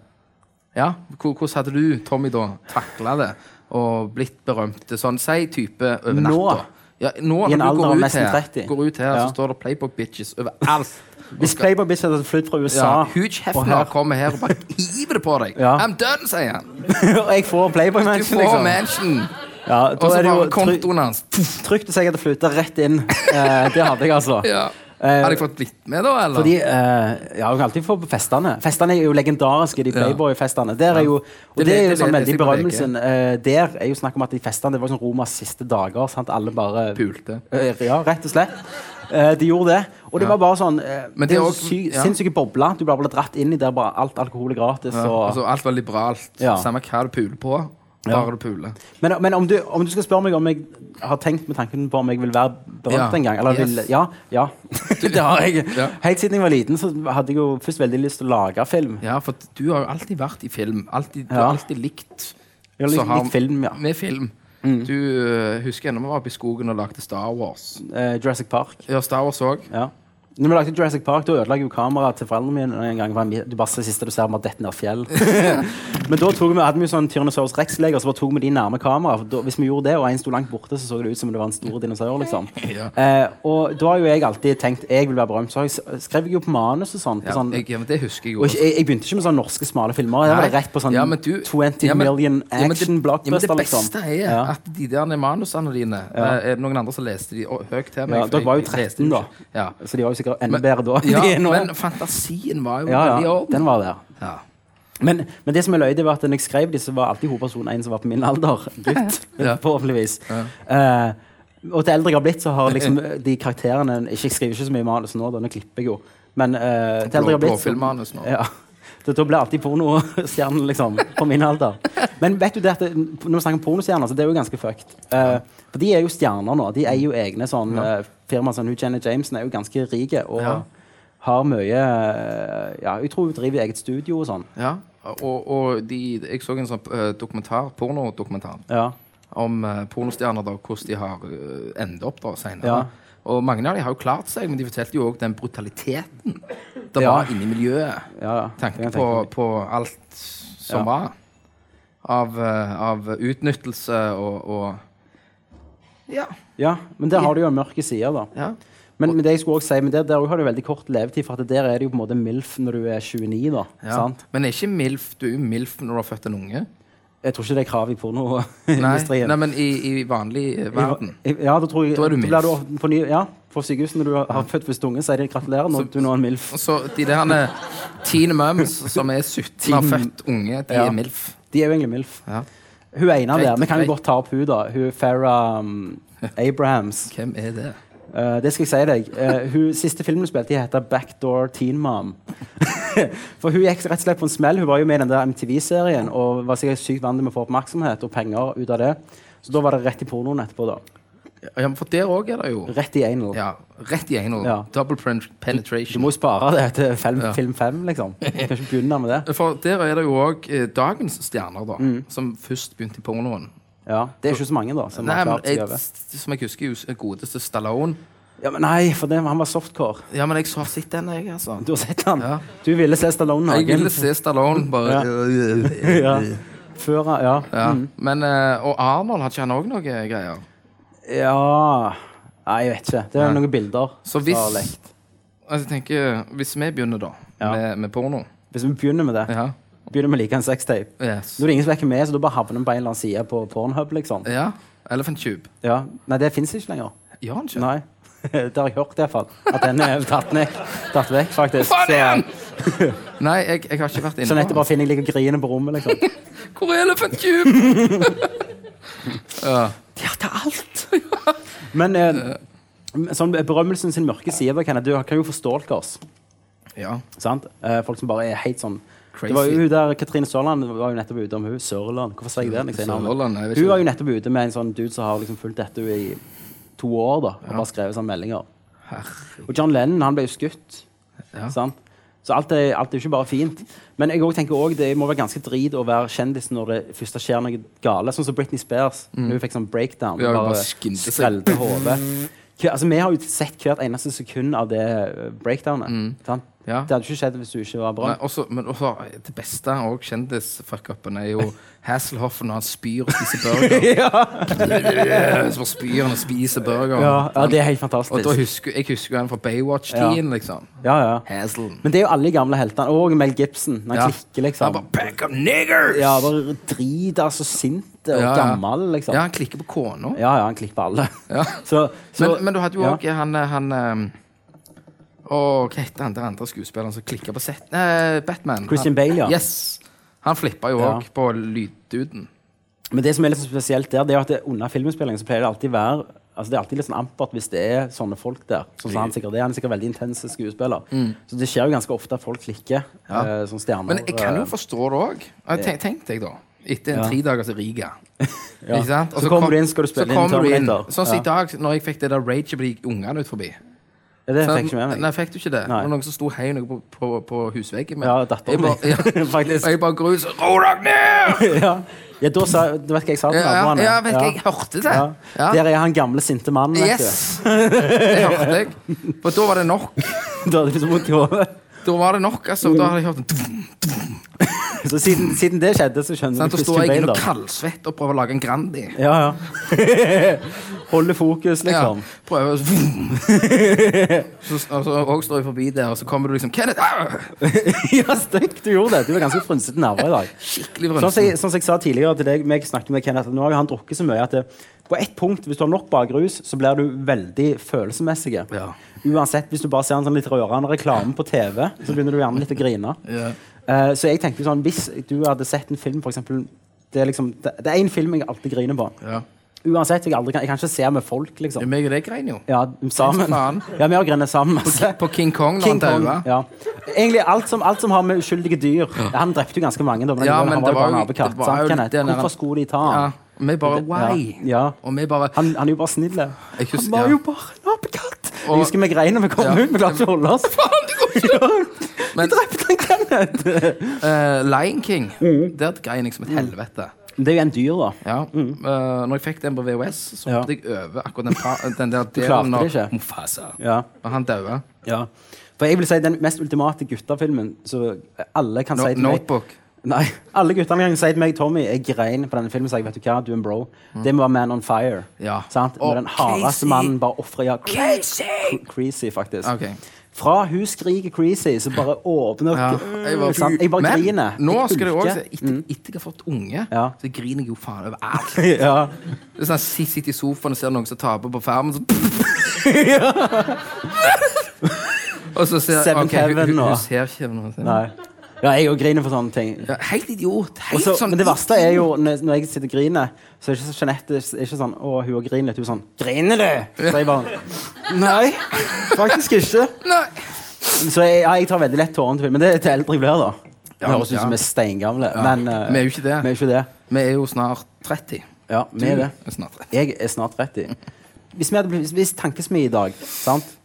Speaker 3: Ja, hvor- hvordan hadde du, Tommy, da takla det og blitt berømt? Det er Sånn, si type over
Speaker 1: Nå?
Speaker 3: natta. Ja, nå,
Speaker 1: I en
Speaker 3: når du
Speaker 1: alder
Speaker 3: går
Speaker 1: av
Speaker 3: ut
Speaker 1: nesten
Speaker 3: her-
Speaker 1: 30.
Speaker 3: Går ut her,
Speaker 1: Ja.
Speaker 3: så står det Playbook bitches
Speaker 1: *laughs*
Speaker 3: overalt.
Speaker 1: Hvis Playboy Bitch hadde flydd fra USA
Speaker 3: Ja, Huge
Speaker 1: og
Speaker 3: Hefner
Speaker 1: her-
Speaker 3: kommer
Speaker 1: *laughs*
Speaker 3: her og bare hiver det på deg.
Speaker 1: Ja.
Speaker 3: I'm done, sier han.
Speaker 1: *laughs* *laughs* Og jeg får Playboy
Speaker 3: Du
Speaker 1: Mansion,
Speaker 3: får
Speaker 1: liksom.
Speaker 3: mansion.
Speaker 1: Ja, da
Speaker 3: Og så
Speaker 1: er det jo try-
Speaker 3: bare kontoen hans.
Speaker 1: trygt å si at det flyter rett inn. Eh, det hadde jeg, altså.
Speaker 3: *laughs* Ja.
Speaker 1: Eh,
Speaker 3: Hadde jeg fått blitt med, da? eller?
Speaker 1: Fordi, eh, ja, Hun kan alltid få på festene. Festene er jo legendariske, de Playboy-festene. Der er jo, og
Speaker 3: Det
Speaker 1: det er
Speaker 3: leste-
Speaker 1: jo sånn
Speaker 3: det leste
Speaker 1: veldig
Speaker 3: jeg på
Speaker 1: berømmelsen. eh, der er jo snakk om at de festene det var sånn Romas siste dager. sant? Alle bare
Speaker 3: Pulte.
Speaker 1: Eh, ja, rett og slett. Eh, de gjorde det. Og det var bare sånn eh,
Speaker 3: Men
Speaker 1: Det
Speaker 3: det
Speaker 1: er
Speaker 3: er
Speaker 1: jo
Speaker 3: også-
Speaker 1: sy
Speaker 3: ja.
Speaker 1: sinnssyke bobler. Du bare ble dratt inn i der bare alt alkohol er gratis.
Speaker 3: Ja,
Speaker 1: Og...
Speaker 3: altså, alt var liberalt.
Speaker 1: Ja.
Speaker 3: Samme hva du puler på, bare du puler.
Speaker 1: Men, men om, du, om du skal spørre meg om jeg har tenkt med tanken på om jeg vil være berømt
Speaker 3: Ja.
Speaker 1: en gang eller
Speaker 3: Yes.
Speaker 1: vil, Ja.
Speaker 3: *laughs*
Speaker 1: ja. det har jeg.
Speaker 3: Ja.
Speaker 1: Helt siden jeg var liten, så hadde jeg jo først veldig lyst til å lage film.
Speaker 3: Ja, for du har jo alltid vært i film. Alltid, Du
Speaker 1: Ja.
Speaker 3: har alltid likt
Speaker 1: Jeg har
Speaker 3: så
Speaker 1: lyst
Speaker 3: har-
Speaker 1: likt film, ja.
Speaker 3: med film.
Speaker 1: Mm.
Speaker 3: Du eh, øh, husker ennå vi var oppe i skogen og lagde Star Wars.
Speaker 1: Eh, Jurassic Park.
Speaker 3: Ja, Star Wars òg.
Speaker 1: Ja. Når vi lagde Jurassic Park, da ødela jeg jo kameraet til foreldrene mine en gang. for han- Du bare ser siste du ser, bare detter ned
Speaker 3: *laughs*
Speaker 1: fjell. Men da tok vi, hadde vi jo sånn Tyrannosaurus rex-leger, så bare tok vi de nærme kameraet. For da, hvis vi gjorde det, og en sto langt borte, så så det ut som om det var en stor dinosaur. liksom. Eh, og da har jo jeg alltid tenkt jeg vil være berømt. Så har jeg s- eh, skrev jeg jo på manus og sånn. På
Speaker 3: Ja,
Speaker 1: sånn
Speaker 3: jeg, ja, men det husker jeg jo.
Speaker 1: og ikke,
Speaker 3: også.
Speaker 1: jeg, jeg begynte ikke med sånne norske smale filmer. Jeg var
Speaker 3: Nei.
Speaker 1: rett på sånn
Speaker 3: Ja, men du-
Speaker 1: 20
Speaker 3: ja, men-
Speaker 1: million
Speaker 3: ja, men det-
Speaker 1: action
Speaker 3: ja, men
Speaker 1: blockbuster,
Speaker 3: Det
Speaker 1: liksom.
Speaker 3: beste er
Speaker 1: Ja.
Speaker 3: at de der manusene dine eh, Er det noen andre som leste de å, høyt til meg?
Speaker 1: Ja,
Speaker 3: for
Speaker 1: dere
Speaker 3: jeg-
Speaker 1: var jo
Speaker 3: jeg leste
Speaker 1: 13 da,
Speaker 3: ikke. Ja.
Speaker 1: så de var jo sikkert enda bedre da. enn
Speaker 3: Ja,
Speaker 1: *laughs* de er nå.
Speaker 3: men fantasien var jo
Speaker 1: ja,
Speaker 3: veldig i
Speaker 1: ja,
Speaker 3: orden.
Speaker 1: den var der.
Speaker 3: Ja.
Speaker 1: Men, men det som er løye, det var at når jeg skrev de, så var alltid hovedpersonen en som var på min alder. Gutt,
Speaker 3: *laughs* Ja.
Speaker 1: forhåpentligvis. Eh, og til eldre jeg har blitt, så har liksom eh, de karakterene ikke, Jeg skriver ikke så mye manus nå, da, nå klipper jeg jo. Men eh, til eldre jeg har blitt så-
Speaker 3: blåfilmmanus
Speaker 1: *laughs*
Speaker 3: nå.
Speaker 1: Ja. Da, da blir alltid pornostjernen liksom, på min alder. Men vet du det at det, når vi snakker om pornostjerner, så det er jo ganske fucked. Eh, for de er jo stjerner nå. De er jo egne sånn eh, firmaer som Hugh Janet Jameson er jo ganske rike og
Speaker 3: Ja.
Speaker 1: har mye eh, Ja, jeg tror hun driver eget studio og sånn.
Speaker 3: Ja. Og, og de, jeg så en sånn eh, dokumentar, pornodokumentar
Speaker 1: Ja.
Speaker 3: om eh, pornostjerner, da, hvordan de har eh, endt opp da senere.
Speaker 1: Ja.
Speaker 3: Og mange av de har jo klart seg, men de fortalte jo òg den brutaliteten det
Speaker 1: Ja.
Speaker 3: var inne i miljøet.
Speaker 1: Ja, ja. Det
Speaker 3: Tanken
Speaker 1: kan jeg
Speaker 3: på,
Speaker 1: tenke meg.
Speaker 3: på alt som
Speaker 1: Ja.
Speaker 3: var. Av, eh, av utnyttelse og, og Ja.
Speaker 1: ja, men der har du jo en mørke side, da.
Speaker 3: ja.
Speaker 1: Men, men det jeg skulle også si, men der, der har du veldig kort levetid, for at der er det jo på en måte MILF når du er 29, da.
Speaker 3: ja.
Speaker 1: Sant?
Speaker 3: Men er ikke MILF du er jo MILF når du har født en unge?
Speaker 1: Jeg tror ikke det er krav i
Speaker 3: Nei,
Speaker 1: pornoindustrien.
Speaker 3: nei men i, i vanlig eh, verden.
Speaker 1: I- i- Ja, da tror jeg
Speaker 3: Da er du
Speaker 1: da
Speaker 3: milf.
Speaker 1: blir ofte på ny, Ja, på sykehuset når du har har født første unge, så er det gratulerer når du nå er en MILF.
Speaker 3: Og så de der teen mums som er 17 og har født unge, de
Speaker 1: Ja.
Speaker 3: er MILF.
Speaker 1: De er jo egentlig MILF.
Speaker 3: Ja.
Speaker 1: Hun ene der,
Speaker 3: Greit,
Speaker 1: vi kan jo
Speaker 3: greit.
Speaker 1: godt ta opp hun da. Hun Farah
Speaker 3: *laughs*
Speaker 1: um, Abrahams.
Speaker 3: Hvem er det?
Speaker 1: Eh, det skal jeg si deg. Eh, hun, siste filmen hun spilte i, heter Backdoor Teen Mom. *laughs* For hun gikk rett og slett på en smell. Hun var jo med i den der MTV-serien og var sikkert sykt vant til å få oppmerksomhet og penger ut av det. Så da var det rett i pornoen etterpå, da.
Speaker 3: Ja, men for der òg er det jo
Speaker 1: Rett i anal.
Speaker 3: ja, Rett i anal.
Speaker 1: Ja.
Speaker 3: Double pen-
Speaker 1: Du
Speaker 3: penetration.
Speaker 1: må jo spare det til film,
Speaker 3: Ja.
Speaker 1: film fem, liksom. Du kan ikke begynne med det.
Speaker 3: For der er det jo òg eh, dagens stjerner, da, som først begynte i pornoen.
Speaker 1: Ja, Det er ikke så mange, da. Mm. Som
Speaker 3: Nei,
Speaker 1: har
Speaker 3: men
Speaker 1: klart seg
Speaker 3: jeg,
Speaker 1: over.
Speaker 3: som jeg husker, jo, godeste Stallone.
Speaker 1: Ja, men nei, for det, han var softcore.
Speaker 3: Ja, men jeg så- har sett den, jeg, altså.
Speaker 1: Du har sett han.
Speaker 3: Ja.
Speaker 1: Du ville se Stallone
Speaker 3: Jeg
Speaker 1: naken.
Speaker 3: ville se Stallone
Speaker 1: *laughs*
Speaker 3: bare *laughs*
Speaker 1: ja. Mm. Før han Ja.
Speaker 3: ja. Men, eh, Og Arnold, hadde ikke han òg noe greier?
Speaker 1: ja. Nei, jeg vet ikke. Det er noen bilder.
Speaker 3: Så
Speaker 1: som
Speaker 3: hvis-
Speaker 1: har lekt.
Speaker 3: Altså, jeg tenker, Hvis vi begynner, da,
Speaker 1: Ja.
Speaker 3: med, med porno
Speaker 1: Hvis vi begynner med det,
Speaker 3: Ja.
Speaker 1: begynner med like en sextape
Speaker 3: Yes.
Speaker 1: Nå er det ingen som vekker med, så da bare havner vi på en eller annen side på Pornhub, liksom.
Speaker 3: ja. Elephant Tube.
Speaker 1: Ja. Nei, det fins ikke lenger.
Speaker 3: Gjør han ikke?
Speaker 1: Nei. *laughs* Det har jeg hørt, iallfall. At den er tatt, ned, tatt vekk, faktisk.
Speaker 3: Faen igjen!
Speaker 1: Så,
Speaker 3: Nei, jeg, jeg har ikke vært
Speaker 1: så
Speaker 3: inne
Speaker 1: nettopp bare finner jeg ligger og griner på rommet, liksom.
Speaker 3: Hvor er Elephant *laughs* Tube?
Speaker 1: Ja, til alt! Men eh, sånn berømmelsen sin mørke side da, Kenneth, Du kan jo få stalkers.
Speaker 3: ja.
Speaker 1: Sant? Eh, folk som bare er helt sånn
Speaker 3: Crazy.
Speaker 1: Det var jo hun der, Katrine Sørland var jo nettopp ute om hun Sørland. Hvorfor sier jeg det? når jeg sier navnet?
Speaker 3: Sørland, jeg vet ikke.
Speaker 1: Hun var jo nettopp ute med en sånn dude som har liksom fulgt dette i to år. da Og bare skrevet sånne meldinger.
Speaker 3: Herregud.
Speaker 1: Og John Lennon han ble jo skutt.
Speaker 3: Ja.
Speaker 1: Sant? Så alt er, alt er jo ikke bare fint. Men jeg også tenker også, det må være ganske drit å være kjendis når det først skjer noe gale. Sånn som Britney Spears. Når hun fikk sånn breakdown.
Speaker 3: Mm. Ja,
Speaker 1: og
Speaker 3: hun bare
Speaker 1: bare
Speaker 3: skinte seg.
Speaker 1: skrellte hodet. Hva- Altså, vi har jo sett hvert eneste sekund av det eh, breakdownet. sant?
Speaker 3: Ja.
Speaker 1: Det hadde ikke skjedd hvis du ikke var bra.
Speaker 3: Mm. Nei, også, men også, det beste og kjendisfuckupen er jo Hasselhoffen når han spyr og spiser
Speaker 1: *laughs*
Speaker 3: burger. Så bare spyr han og spiser burger.
Speaker 1: Ja, ja, det er helt
Speaker 3: Og da
Speaker 1: fantastisk.
Speaker 3: husker, jeg husker jo han fra Baywatch-tiden, liksom.
Speaker 1: Ja, ja.
Speaker 3: Hasselen.
Speaker 1: Men det er jo alle de gamle heltene. Og Mel Gibson. Når han
Speaker 3: Ja.
Speaker 1: klikker,
Speaker 3: Han
Speaker 1: liksom.
Speaker 3: bare Pack of niggers!
Speaker 1: Ja, bare driter så sint og
Speaker 3: Ja, ja.
Speaker 1: gammel, liksom. Ja,
Speaker 3: Ja, han klikker på kona.
Speaker 1: ja, han klipper alle.
Speaker 3: Ja.
Speaker 1: *laughs* Så, så
Speaker 3: men, men du hadde jo
Speaker 1: ja.
Speaker 3: òg han, eh, han eh, Å, hva heter han der andre skuespilleren som klikker på sett? Eh, Batman.
Speaker 1: Christian
Speaker 3: Han-
Speaker 1: Bale, ja.
Speaker 3: Yes. Han flippa jo
Speaker 1: Ja.
Speaker 3: òg på lydduden.
Speaker 1: Men det som er litt sånn spesielt der, det er jo at det, under filminnspillingen så pleier det alltid være Altså Det er alltid litt sånn ampert hvis det er sånne folk der. Sånn som Han sikkert er Han er sikkert veldig intens skuespiller. Så det skjer jo ganske ofte at folk klikker
Speaker 3: Mm. Ja.
Speaker 1: eh, som stjerner.
Speaker 3: Men jeg kan jo
Speaker 1: eh,
Speaker 3: forstå det òg. Tenk, tenk deg, da. Etter en
Speaker 1: Ja.
Speaker 3: tredagers Riga.
Speaker 1: ja.
Speaker 3: Ikke sant? Og
Speaker 1: Så kommer du inn, skal du
Speaker 3: så
Speaker 1: spille inn
Speaker 3: kommer du inn.
Speaker 1: Terminator.
Speaker 3: Sånn som
Speaker 1: ja.
Speaker 3: i dag, når jeg fikk det der rage på de ungene ut forbi.
Speaker 1: Ja, det
Speaker 3: Så-
Speaker 1: fikk jeg ikke med
Speaker 3: Nei,
Speaker 1: meg.
Speaker 3: fikk du ikke det?
Speaker 1: Nei.
Speaker 3: Det var noen som sto hei noe på, på, på husveggen min.
Speaker 1: Ja,
Speaker 3: Jeg
Speaker 1: datteren
Speaker 3: bare-
Speaker 1: min, *laughs*
Speaker 3: ja. *laughs* Og
Speaker 1: faktisk.
Speaker 3: jeg bare går ut sånn Ro dere ned!
Speaker 1: ja. ja, da sa Du vet hva jeg sa til
Speaker 3: Ja,
Speaker 1: *laughs*
Speaker 3: ja,
Speaker 1: naboene?
Speaker 3: ja, vet ikke, jeg hørte det.
Speaker 1: Ja.
Speaker 3: Ja.
Speaker 1: *laughs* Der er han gamle, sinte mannen, vet
Speaker 3: Yes! Det hørte jeg. For da var det nok.
Speaker 1: Du hadde liksom vondt i hodet.
Speaker 3: Da var det nok, altså. Da hadde jeg hørt en
Speaker 1: Mm.
Speaker 3: dvum,
Speaker 1: Så siden, siden det skjedde, så skjønner
Speaker 3: sant?
Speaker 1: du
Speaker 3: Da Sånn, står jeg
Speaker 1: Christian Bale,
Speaker 3: inne og
Speaker 1: da.
Speaker 3: kaldsvetter og prøver å lage en Grandi.
Speaker 1: Ja, ja. *laughs* Holde fokus,
Speaker 3: Ja,
Speaker 1: liksom. *laughs*
Speaker 3: prøver og så vum. *laughs* Så- Og så og står jeg forbi der, og så kommer du liksom Kenneth! ah!"
Speaker 1: Ja, stygt du gjorde det. Du er ganske frynsete nerver i dag.
Speaker 3: Skikkelig
Speaker 1: Sånn som,
Speaker 3: vrønsen.
Speaker 1: jeg, sånn som jeg sa tidligere til deg, meg snakket med Kenneth, nå har jo han drukket så mye at det, på ett punkt, hvis du har nok bakrus, så blir du veldig følelsesmessig.
Speaker 3: Ja.
Speaker 1: Uansett, hvis du bare ser en sånn litt rørende reklame på TV, så begynner du gjerne litt å grine.
Speaker 3: Ja.
Speaker 1: Eh, så jeg tenkte sånn, hvis du hadde sett en film, for eksempel, det er liksom, det, det er en film jeg alltid griner på.
Speaker 3: Ja.
Speaker 1: Uansett, jeg, aldri, kan- jeg kan ikke se med folk,
Speaker 3: Ja,
Speaker 1: liksom.
Speaker 3: Meg og deg grein jo.
Speaker 1: Ja, sammen.
Speaker 3: faen.
Speaker 1: Ja, vi har grinet sammen masse.
Speaker 3: På King Kong når han
Speaker 1: King Kong.
Speaker 3: daua.
Speaker 1: Ja. Egentlig alt som, alt som har med uskyldige dyr Han drepte jo ganske mange. Da, men,
Speaker 3: Ja,
Speaker 1: han
Speaker 3: men
Speaker 1: var
Speaker 3: det
Speaker 1: jo bare
Speaker 3: var
Speaker 1: en
Speaker 3: jo-
Speaker 1: apekatt.
Speaker 3: det var
Speaker 1: sant,
Speaker 3: jo
Speaker 1: Kenneth?
Speaker 3: den der-
Speaker 1: Hvorfor skulle de ta
Speaker 3: Ja.
Speaker 1: han?
Speaker 3: Og vi bare Why?
Speaker 1: Ja.
Speaker 3: Og vi bare
Speaker 1: Han, han er jo bare snill. Han
Speaker 3: Jeg husker-
Speaker 1: var
Speaker 3: ja.
Speaker 1: jo bare en apekatt!
Speaker 3: Og-
Speaker 1: Jeg husker vi grein når vi kom
Speaker 3: Ja.
Speaker 1: ut. Vi klarte ikke å holde oss.
Speaker 3: *laughs* Faen, det
Speaker 1: *laughs*
Speaker 3: går ikke!
Speaker 1: Vi
Speaker 3: Men
Speaker 1: drepte han Kenneth!
Speaker 3: *laughs* eh, Lion King,
Speaker 1: Mm.
Speaker 3: der grein jeg som et helvete.
Speaker 1: Det er jo en dyr, da.
Speaker 3: Ja. eh, når jeg fikk den på VHS, så
Speaker 1: Mm. Ja.
Speaker 3: hoppet jeg over akkurat den, pa,
Speaker 1: *laughs*
Speaker 3: den der
Speaker 1: klarte
Speaker 3: delen
Speaker 1: det ikke.
Speaker 3: Mufasa.
Speaker 1: Ja.
Speaker 3: Og han daua.
Speaker 1: ja. For jeg vil si den mest ultimate guttefilmen så alle kan
Speaker 3: No,
Speaker 1: si til meg
Speaker 3: notebook.
Speaker 1: Nei, alle guttene kan si til meg Tommy, jeg grein på denne filmen. Så jeg, vet du hva, du er en bro. Det må være Man on Fire.
Speaker 3: Mm. Ja.
Speaker 1: Sant? Når
Speaker 3: Og
Speaker 1: den hardeste
Speaker 3: Casey.
Speaker 1: mannen bare ofrer ja, cre- Creasy, faktisk.
Speaker 3: Ok.
Speaker 1: Fra hun skriker Creasy, så bare åpner
Speaker 3: Ja,
Speaker 1: jeg, sant? jeg bare
Speaker 3: Men
Speaker 1: griner.
Speaker 3: nå
Speaker 1: Jeg
Speaker 3: skal du
Speaker 1: hulker.
Speaker 3: også se, etter, etter jeg har fått unge,
Speaker 1: Ja.
Speaker 3: så griner jeg jo faen over alt.
Speaker 1: *laughs* ja.
Speaker 3: Det er sånn, jeg sitter i sofaen og ser noen som taper på
Speaker 1: *laughs*
Speaker 3: farmen, så Og så ser
Speaker 1: Seven
Speaker 3: ok, hun,
Speaker 1: Heaven
Speaker 3: hun,
Speaker 1: og-
Speaker 3: hun ser ikke noe. sånn.
Speaker 1: Nei. ja, jeg òg griner for sånne ting.
Speaker 3: Ja, helt idiot. Helt
Speaker 1: Også,
Speaker 3: sånn
Speaker 1: men det verste er jo når, når jeg sitter og griner, så er det ikke så Jeanette det er ikke sånn Å, hun og griner litt. Hun er sånn Griner du? Så jeg
Speaker 3: *laughs*
Speaker 1: bare Nei, faktisk ikke.
Speaker 3: Nei.
Speaker 1: Så jeg, ja, jeg tar veldig lett tårene til film. Men det er til eldre jeg blir, da. Det
Speaker 3: Ja,
Speaker 1: høres ut
Speaker 3: ja.
Speaker 1: som vi er steingamle.
Speaker 3: Ja.
Speaker 1: Men eh,
Speaker 3: Vi er jo ikke det.
Speaker 1: Vi er jo ikke det.
Speaker 3: Vi er jo snart 30.
Speaker 1: Ja, vi er det.
Speaker 3: Snart 30.
Speaker 1: Jeg er snart 30. Hvis, vi hadde blitt, hvis tankesmi i dag sant?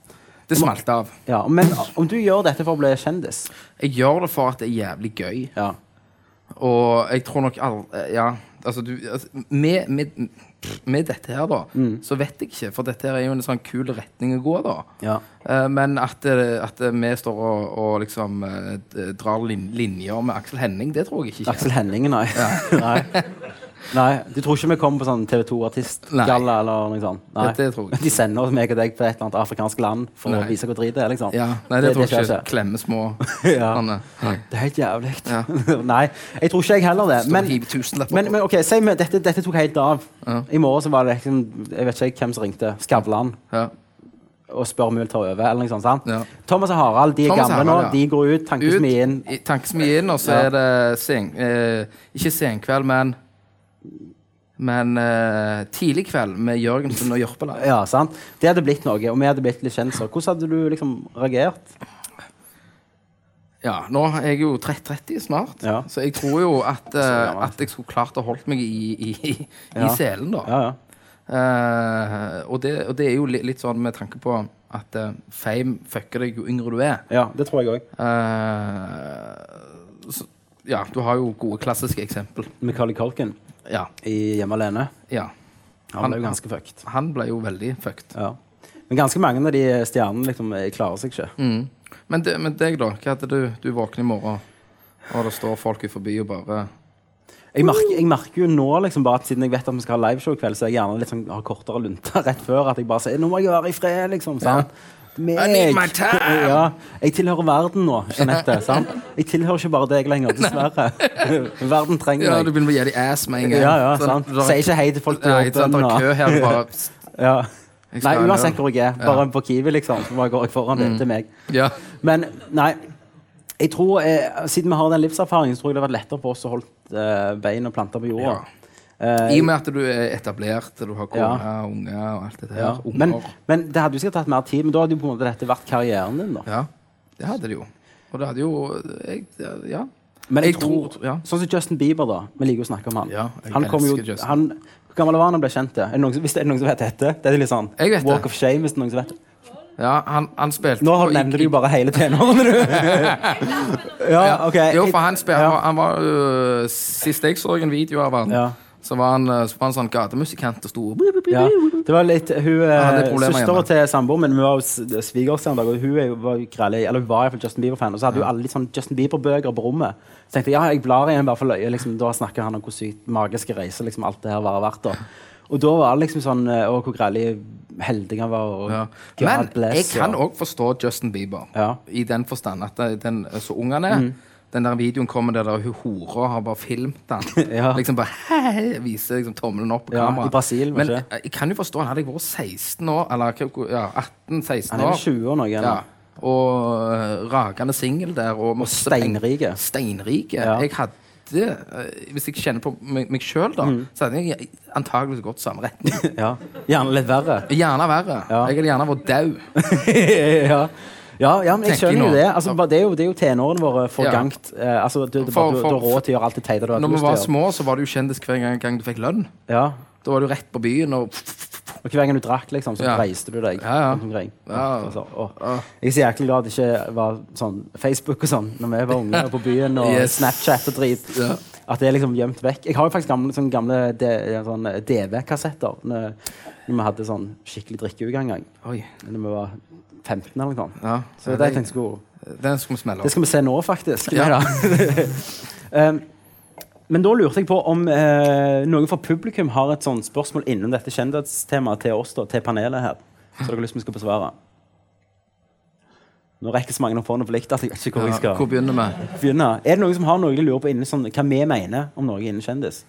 Speaker 3: Det smalt av.
Speaker 1: Ja, Men om du gjør dette for å bli kjendis
Speaker 3: Jeg gjør det for at det er jævlig gøy.
Speaker 1: ja.
Speaker 3: Og jeg tror nok alle Ja, altså du altså, med, med, med dette her, da,
Speaker 1: Mm.
Speaker 3: så vet jeg ikke. For dette her er jo en sånn kul retning å gå, da.
Speaker 1: Ja.
Speaker 3: Eh, men at, det- at det- vi står og, og liksom eh, d- drar lin, linjer med Aksel Henning, det tror jeg ikke. skjer.
Speaker 1: Aksel Henningen, nei. *laughs* nei. Nei, Du tror ikke vi kommer på sånn TV 2-artistgalla eller noe sånt? Nei.
Speaker 3: Det- det tror jeg ikke.
Speaker 1: De sender oss meg og deg på et eller annet afrikansk land for
Speaker 3: Nei.
Speaker 1: å vise hvor drit det er? liksom
Speaker 3: Ja, nei, det, tror jeg
Speaker 1: skjer
Speaker 3: ikke. Klemme små
Speaker 1: *laughs* Ja.
Speaker 3: Anne. Nei.
Speaker 1: Det er helt jævlig.
Speaker 3: Ja.
Speaker 1: *laughs* Nei, jeg tror ikke jeg heller det. Men,
Speaker 3: hiv tusenlapper
Speaker 1: men,
Speaker 3: på.
Speaker 1: men ok, si meg, dette, dette tok helt av. I morgen så var det liksom, jeg vet ikke hvem som ringte, Skavlan
Speaker 3: Ja.
Speaker 1: og spør om vi vil ta over. eller noe sånt, sant?
Speaker 3: Ja.
Speaker 1: Thomas og Harald de er
Speaker 3: Thomas og
Speaker 1: gamle nå.
Speaker 3: Harald, ja.
Speaker 1: De går ut, tankes mye inn.
Speaker 3: Ut, i- tankesmien, og så
Speaker 1: Ja.
Speaker 3: er det sen, eh, ikke senkveld, men men eh, tidlig kveld med Jørgensen og Jørpeland.
Speaker 1: Ja, sant? Det hadde blitt noe, og vi hadde blitt litt kjendiser. Hvordan hadde du liksom reagert?
Speaker 3: Ja, nå er jeg jo 30, 30 snart,
Speaker 1: Ja.
Speaker 3: så jeg tror jo
Speaker 1: *laughs*
Speaker 3: at, eh,
Speaker 1: gammel.
Speaker 3: at jeg skulle klart å holdt meg i, i, i,
Speaker 1: Ja.
Speaker 3: i selen, da.
Speaker 1: Ja, ja.
Speaker 3: Eh, og, det, og det er jo li, litt sånn med tanke på at eh, fame fucker deg jo yngre du er.
Speaker 1: ja det tror jeg òg.
Speaker 3: Eh, så, ja, du har jo gode klassiske eksempel.
Speaker 1: Michael Culkin
Speaker 3: Ja.
Speaker 1: i Hjemme alene.
Speaker 3: ja.
Speaker 1: Han ble jo ganske fucked.
Speaker 3: Han ble jo veldig fucked.
Speaker 1: Ja. Men ganske mange av de stjernene liksom, klarer seg ikke.
Speaker 3: Men, det, men deg, da? Hva hadde du? Du våkner i morgen, og det står folk i forbi og bare
Speaker 1: Jeg merker, jeg merker jo nå liksom bare at siden jeg vet at vi skal ha liveshow i kveld, så er jeg gjerne litt sånn, har kortere lunte rett før. At jeg bare sier 'nå må jeg være i fred', liksom. sant? Meg.
Speaker 3: I need my time!
Speaker 1: Ja, jeg tilhører verden nå,
Speaker 3: *laughs*
Speaker 1: Jeanette. sant? Jeg tilhører ikke bare deg lenger, dessverre. Verden
Speaker 3: Ja,
Speaker 1: trenger
Speaker 3: du
Speaker 1: meg.
Speaker 3: begynner å gi dem ass med en gang.
Speaker 1: Ja, ja,
Speaker 3: Sånn,
Speaker 1: sant?
Speaker 3: du har-
Speaker 1: Sier ikke hei til folk på
Speaker 3: Nei, ikke sant,
Speaker 1: jobben.
Speaker 3: det er kø
Speaker 1: og-
Speaker 3: her, bare
Speaker 1: *laughs* Ja.
Speaker 3: Jeg skal Mm.
Speaker 1: Nei,
Speaker 3: ha en
Speaker 1: uansett
Speaker 3: øl.
Speaker 1: hvor jeg er. Bare på Kiwi, liksom. Så bare går jeg foran deg til meg.
Speaker 3: Ja.
Speaker 1: Men nei. Jeg tror, eh, Siden vi har den livserfaringen, så tror jeg det har vært lettere for oss å holde eh, bein og planter på jorda. Eh,
Speaker 3: I og med at du er etablert, du har kone,
Speaker 1: Ja.
Speaker 3: unge og alt det der.
Speaker 1: Ja.
Speaker 3: Unger.
Speaker 1: Men, men det hadde jo sikkert tatt mer tid, men da hadde jo på en måte dette vært karrieren din. da
Speaker 3: ja, det hadde de jo. Og det hadde jo jeg, Ja.
Speaker 1: Men jeg,
Speaker 3: Jeg
Speaker 1: tror,
Speaker 3: tror- ja.
Speaker 1: Sånn som Justin Bieber, da. Vi liker jo å snakke om han.
Speaker 3: Ja, jeg
Speaker 1: han kom jo,
Speaker 3: elsker Justin.
Speaker 1: han, Hvor gammel var han da han ble kjent? det? Er det noen, som- hvis det er noen som vet dette? Det er litt sånn
Speaker 3: Jeg vet det.
Speaker 1: Walk of shame. hvis det er noen som vet det.
Speaker 3: ja han, han spilte
Speaker 1: Nå
Speaker 3: på-
Speaker 1: har- nevner du jo bare hele *laughs* tenårene, du. ja, ok.
Speaker 3: Jo, for han spilte
Speaker 1: Ja.
Speaker 3: Han var øh, Sist jeg så en video av han,
Speaker 1: Ja.
Speaker 3: Så var han, eh, så var han sånn gatemusikant og sto
Speaker 1: Ja. Det var litt, hun
Speaker 3: hadde
Speaker 1: eh,
Speaker 3: problemer
Speaker 1: Søstera
Speaker 3: hjemme.
Speaker 1: til samboeren min hun var jo s- svigers en dag, og hun er jo- var jo grelle, eller hun var i hvert fall Justin Bieber-fan. Og så hadde hun alle litt sånn Justin Bieber-bøker på rommet. Så tenkte jeg ja, jeg blar i en, bare for løye. Liksom, da snakker han om hvor sykt magiske reiser liksom, alt det her var verdt. Da. Og da var det liksom sånn eh, Og hvor grelle helting han var. Og
Speaker 3: Ja.
Speaker 1: God
Speaker 3: Men jeg
Speaker 1: bless,
Speaker 3: kan
Speaker 1: og-
Speaker 3: òg forstå Justin Bieber.
Speaker 1: Ja. Mm.
Speaker 3: I den forstand at det- den eh, så ung han er. Den der videoen kommer der, der hun hora har bare filmt den.
Speaker 1: *laughs* Ja.
Speaker 3: Liksom bare hei, viser liksom tommelen opp på
Speaker 1: Ja,
Speaker 3: kamera.
Speaker 1: i Brasil, var
Speaker 3: Men eh,
Speaker 1: det ikke?
Speaker 3: jeg kan jo forstå, han hadde jeg vært 16 år, eller hva- ja, 18-16
Speaker 1: Han er
Speaker 3: år
Speaker 1: jo 20 år nå. igjen.
Speaker 3: ja. Og eh, ragende singel der. Og, masse penger.
Speaker 1: steinrike.
Speaker 3: Steinrike.
Speaker 1: Ja.
Speaker 3: Jeg hadde eh, hvis jeg kjenner på meg, meg sjøl, da,
Speaker 1: Mm.
Speaker 3: så hadde jeg antakeligvis gått samme retning.
Speaker 1: *laughs* Ja. Gjerne litt verre.
Speaker 3: Gjerne verre.
Speaker 1: Ja.
Speaker 3: Jeg hadde gjerne vært dau.
Speaker 1: *laughs* ja. Ja, ja, men jeg
Speaker 3: Tenker jeg
Speaker 1: skjønner jo
Speaker 3: nå.
Speaker 1: det. Altså, bare- det, er jo, det er jo tenårene våre forgangt. Eh, altså, du, du,
Speaker 3: For-
Speaker 1: du, du
Speaker 3: for-
Speaker 1: har råd til å gjøre alt det teite du har
Speaker 3: Når vi
Speaker 1: lyst
Speaker 3: var
Speaker 1: til å gjøre.
Speaker 3: små, så var du jo kjendis hver gang- gang du fikk lønn.
Speaker 1: Ja.
Speaker 3: Da var du rett på byen og
Speaker 1: Og hver gang du drakk, liksom, så
Speaker 3: Ja.
Speaker 1: reiste du deg.
Speaker 3: Ja, ja.
Speaker 1: rundt omkring.
Speaker 3: Ja.
Speaker 1: Altså, å.
Speaker 3: ah,
Speaker 1: Jeg er så jæklig glad det ikke var sånn Facebook og sånn når vi var unge og på byen, og
Speaker 3: *laughs* Yes.
Speaker 1: Snapchat og drit.
Speaker 3: Ja.
Speaker 1: At det er liksom gjemt vekk. Jeg har jo faktisk gamle, sånne gamle D- sånn DV-kassetter. Når, når vi hadde sånn skikkelig drikkeuke en gang.
Speaker 3: Oi.
Speaker 1: Når vi var 15 eller noe sånt.
Speaker 3: Ja.
Speaker 1: Så det, er det jeg tenkte skulle
Speaker 3: Den skal vi smelle
Speaker 1: Det
Speaker 3: opp.
Speaker 1: skal vi se nå, faktisk.
Speaker 3: Ja.
Speaker 1: Neida. *laughs* um, men da lurte jeg på om eh, noen fra publikum har et sånt spørsmål innom dette kjendistemaet til oss, da, til panelet her. Så dere har lyst til å besvare. Nå rekker så mange opp hånden på likt at jeg vet ikke hvor jeg
Speaker 3: Ja, hvor
Speaker 1: skal
Speaker 3: begynner vi?
Speaker 1: begynne. Er det noen som har noe de lurer på innen sånn, hva vi mener om noe innen kjendis?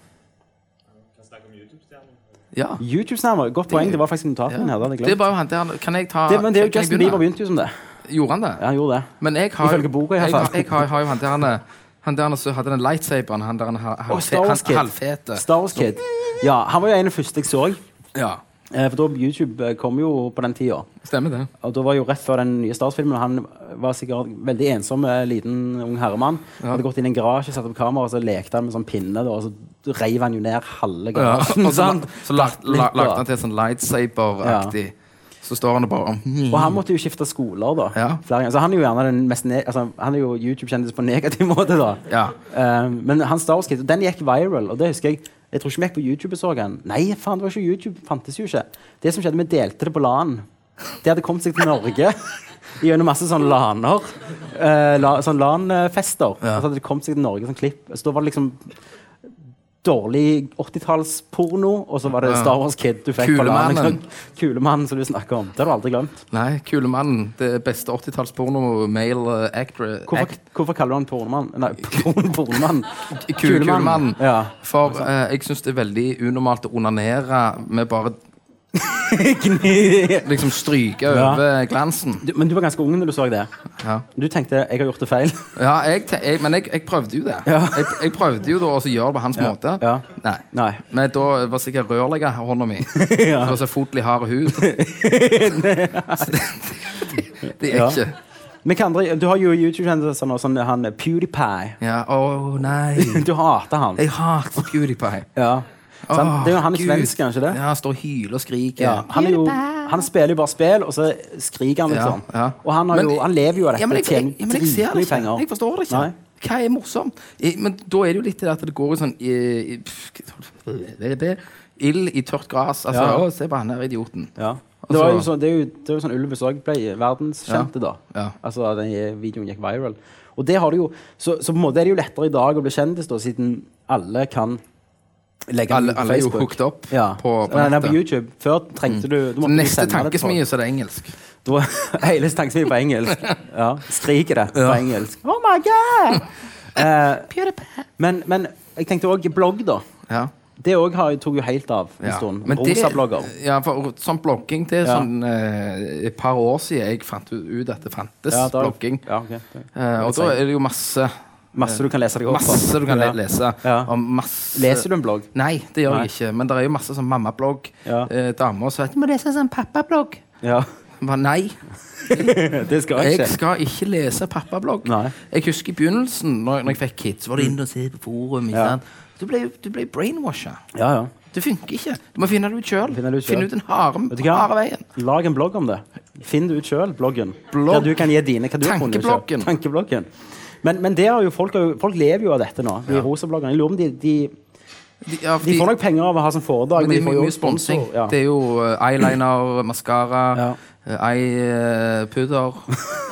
Speaker 3: Ja.
Speaker 1: YouTube-stjerner. Godt poeng. Det var faktisk notatet min her. Det hadde
Speaker 3: Det er
Speaker 1: jeg glemt.
Speaker 3: bare han der Kan jeg ta
Speaker 1: Det, men det er jo
Speaker 3: kan jeg
Speaker 1: Justin
Speaker 3: begynne?
Speaker 1: Bieber begynte jo som det.
Speaker 3: Gjorde han det?
Speaker 1: Ja, han gjorde det.
Speaker 3: Men jeg har
Speaker 1: Ifølge boka, i hvert
Speaker 3: jeg,
Speaker 1: fall.
Speaker 3: har- jeg har, jeg har jo han der han- han der han som hadde den lightsaberen, han der han ha-
Speaker 1: Og Star Wars
Speaker 3: han
Speaker 1: Kid.
Speaker 3: halvfete.
Speaker 1: Star Wars Kid. Ja, han var jo en av de første jeg så.
Speaker 3: Ja,
Speaker 1: Eh, For da YouTube eh, kom jo på den tida.
Speaker 3: stemmer det.
Speaker 1: Og da var jo rett før den nye Stars-filmen, og han var sikkert veldig ensom, eh, liten ung herremann. Hadde gått inn i en garasje, satt opp kamera, og så lekte han med sånn pinne, da, og så reiv han jo ned halve *laughs*
Speaker 3: Ja.
Speaker 1: garasjen.
Speaker 3: *laughs* Og så,
Speaker 1: sant?
Speaker 3: la- så lag- la-
Speaker 1: Litt bra.
Speaker 3: lagde han til sånn lightsaber-aktig. Så står han og bare
Speaker 1: Og han måtte jo skifte skoler, da.
Speaker 3: Ja.
Speaker 1: Flere ganger. Så han er jo gjerne den mest ne altså, Han er jo YouTube-kjendis på en negativ *laughs* måte, da.
Speaker 3: Ja.
Speaker 1: Eh, men han Star Wars Kid, den gikk viral, og det husker jeg. Jeg tror ikke vi gikk på YouTube og så den. Nei, faen, det var ikke YouTube. Fantes jo ikke. Det som skjedde, vi delte det på LAN. Det hadde kommet seg til Norge *laughs* gjennom masse sånne LAN-er. eh, la, sånn LAN-fester. Og så hadde det kommet seg til Norge sånn klipp. Så da var det liksom dårlig 80-tallsporno, og så var det Star Wars Kid du fikk på LAN. liksom.
Speaker 3: Kulemannen.
Speaker 1: Kulemannen som du snakker om. Det har du aldri glemt.
Speaker 3: Nei, kule mannen. Det beste 80-tallsporno, male eh, actor
Speaker 1: Hvorfor,
Speaker 3: act-
Speaker 1: hvorfor kaller du han pornomann? Nei, porn, pornomann.
Speaker 3: Kule mannen.
Speaker 1: Ja.
Speaker 3: For eh, jeg syns det er veldig unormalt å onanere med bare liksom stryke
Speaker 1: Ja.
Speaker 3: over glansen.
Speaker 1: Du, men du var ganske ung når du så det.
Speaker 3: Ja.
Speaker 1: Du tenkte 'jeg har gjort det feil'. *laughs*
Speaker 3: Ja, jeg, te- jeg, men jeg, jeg prøvde jo det. Jeg, jeg prøvde jo da å gjøre det på hans måte.
Speaker 1: Ja.
Speaker 3: Nei.
Speaker 1: Nei.
Speaker 3: Men da var sikkert rørlegger i hånda mi.
Speaker 1: *laughs* Ja.
Speaker 3: Og så fotlig
Speaker 1: *laughs*
Speaker 3: hard hud. Så det, det, det er
Speaker 1: Ja.
Speaker 3: ikke
Speaker 1: Men hva andre, du har jo YouTube-kjendiser nå, sånn han PewDiePie.
Speaker 3: Ja, Å nei.
Speaker 1: Du hater han.
Speaker 3: Jeg hater PewDiePie.
Speaker 1: Ja. Så han, det er jo han er
Speaker 3: Gud.
Speaker 1: svensk, er han ikke det?
Speaker 3: Ja, han står og hyler og skriker.
Speaker 1: Ja. Han, er jo, han spiller jo bare spill, og så skriker han, liksom.
Speaker 3: Ja, ja.
Speaker 1: Og han, har
Speaker 3: Men-
Speaker 1: jo, han lever jo av dette.
Speaker 3: Ja, men jeg, jeg, ja,
Speaker 1: tjener
Speaker 3: men jeg ser det
Speaker 1: dritmye
Speaker 3: ikke.
Speaker 1: penger.
Speaker 3: Jeg forstår det ikke.
Speaker 1: Nei.
Speaker 3: Hva er morsomt? I- Men da er det jo litt det at det går i sånn i, i, pff, det- det- Ild i tørt gress. Altså,
Speaker 1: Ja.
Speaker 3: å, se på han der idioten.
Speaker 1: Ja.
Speaker 3: Og
Speaker 1: Det, var jo
Speaker 3: så-
Speaker 1: sånn- det, er jo, det er jo sånn Ulvis òg ble verdenskjente, da.
Speaker 3: Ja.
Speaker 1: Altså den videoen gikk viral. Og det har det jo, så, så på en måte er det jo lettere i dag å bli kjendis, da, siden alle kan legge den
Speaker 3: Alle,
Speaker 1: ut på
Speaker 3: alle er jo
Speaker 1: Facebook.
Speaker 3: hooked opp
Speaker 1: ja.
Speaker 3: på, på
Speaker 1: Nei, nei, på
Speaker 3: nettet. Mm.
Speaker 1: YouTube. Før trengte du, du måtte jo
Speaker 3: Neste
Speaker 1: sende det til folk. *laughs*
Speaker 3: tankesmie, så er det engelsk.
Speaker 1: Det var hele tankesmien på engelsk.
Speaker 3: *laughs*
Speaker 1: Ja. Skriker det på engelsk. Oh my god! Eh, men, men jeg tenkte òg blogg, da.
Speaker 3: Ja.
Speaker 1: Det òg tok jo helt av en
Speaker 3: Ja.
Speaker 1: stund.
Speaker 3: Men det-
Speaker 1: Rosa-blogger.
Speaker 3: Ja, for sånn blogging Det er
Speaker 1: Ja.
Speaker 3: sånn eh, et par år siden jeg fant ut at det fantes
Speaker 1: Ja, da-
Speaker 3: blogging.
Speaker 1: Ja, ok.
Speaker 3: Eh, og da er det jo masse
Speaker 1: Masse du kan lese deg opp på.
Speaker 3: Masse du kan le-
Speaker 1: Ja.
Speaker 3: lese.
Speaker 1: Ja.
Speaker 3: Om masse
Speaker 1: Leser du en blogg?
Speaker 3: Nei, det gjør
Speaker 1: Nei.
Speaker 3: jeg ikke. Men det er jo masse sånn mammablogg.
Speaker 1: Ja.
Speaker 3: Eh, damer som heter 'Må lese sånn pappablogg'.
Speaker 1: Ja,
Speaker 3: Hva, Nei,
Speaker 1: *laughs* det skal jeg
Speaker 3: jeg
Speaker 1: ikke.
Speaker 3: skal ikke lese pappablogg.
Speaker 1: Nei.
Speaker 3: Jeg husker i begynnelsen, når, når jeg fikk kids, så var du inne og se på forum. Ikke
Speaker 1: Ja.
Speaker 3: sant? Du ble, du ble brainwasha.
Speaker 1: Ja, ja.
Speaker 3: Det funker ikke. Du må finne det ut sjøl.
Speaker 1: Finne det ut selv.
Speaker 3: Finne ut den harde
Speaker 1: Vet du
Speaker 3: harde
Speaker 1: hva?
Speaker 3: veien.
Speaker 1: Lag en blogg om det. Finn det ut sjøl, bloggen.
Speaker 3: Blogg.
Speaker 1: Der du kan gi dine hva du har funnet ut selv.
Speaker 3: Tankebloggen.
Speaker 1: Tankebloggen. Men, men det har jo folk, har jo- folk lever jo av dette nå, de rosa bloggerne. Jeg lurer om de, de
Speaker 3: De, ja,
Speaker 1: De
Speaker 3: fordi-
Speaker 1: får nok penger av å ha som foredrag,
Speaker 3: men det
Speaker 1: men de
Speaker 3: er
Speaker 1: får
Speaker 3: mye,
Speaker 1: jo
Speaker 3: mye sponsing.
Speaker 1: sponsor, ja.
Speaker 3: Det er jo eh, eyeliner, maskara,
Speaker 1: Ja.
Speaker 3: eh, eyepudder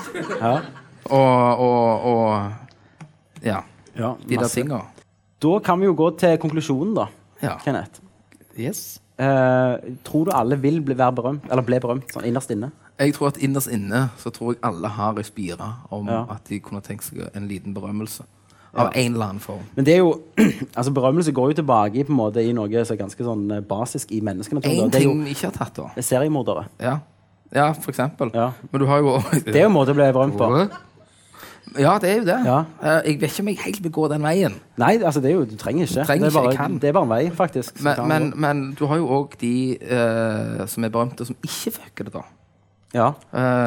Speaker 1: *laughs* Ja.
Speaker 3: og, og, og Ja.
Speaker 1: Ja,
Speaker 3: De der
Speaker 1: masse.
Speaker 3: tinga.
Speaker 1: Da kan vi jo gå til konklusjonen, da,
Speaker 3: Ja.
Speaker 1: Kenneth.
Speaker 3: Yes.
Speaker 1: Eh, tror du alle vil bli, være berømt, eller ble berømt, sånn innerst inne?
Speaker 3: Jeg tror at innerst inne så tror jeg alle har ei spire om
Speaker 1: Ja.
Speaker 3: at de kunne tenkt seg en liten berømmelse. Av en eller annen form.
Speaker 1: Men det er jo, *clears throat* altså berømmelse går jo tilbake i, på en måte, i noe som er ganske sånn eh, basisk i menneskenaturen.
Speaker 3: Én
Speaker 1: da. Det er
Speaker 3: ting
Speaker 1: jo
Speaker 3: vi ikke har tatt, da.
Speaker 1: det er seriemordere.
Speaker 3: Ja, ja for eksempel.
Speaker 1: Ja.
Speaker 3: Men du har jo
Speaker 1: Det er jo en måte å bli berømt på.
Speaker 3: Ja, det er jo det.
Speaker 1: Ja.
Speaker 3: Eh, Jeg vet ikke om jeg helt vil gå den veien.
Speaker 1: Nei, altså det er jo, du trenger ikke.
Speaker 3: Trenger
Speaker 1: det, er
Speaker 3: ikke, jeg
Speaker 1: bare,
Speaker 3: kan.
Speaker 1: det er bare en vei, faktisk. som
Speaker 3: Men,
Speaker 1: kan
Speaker 3: men,
Speaker 1: gå.
Speaker 3: men du har jo òg de eh, som er berømte, som ikke fucker det, da.
Speaker 1: ja.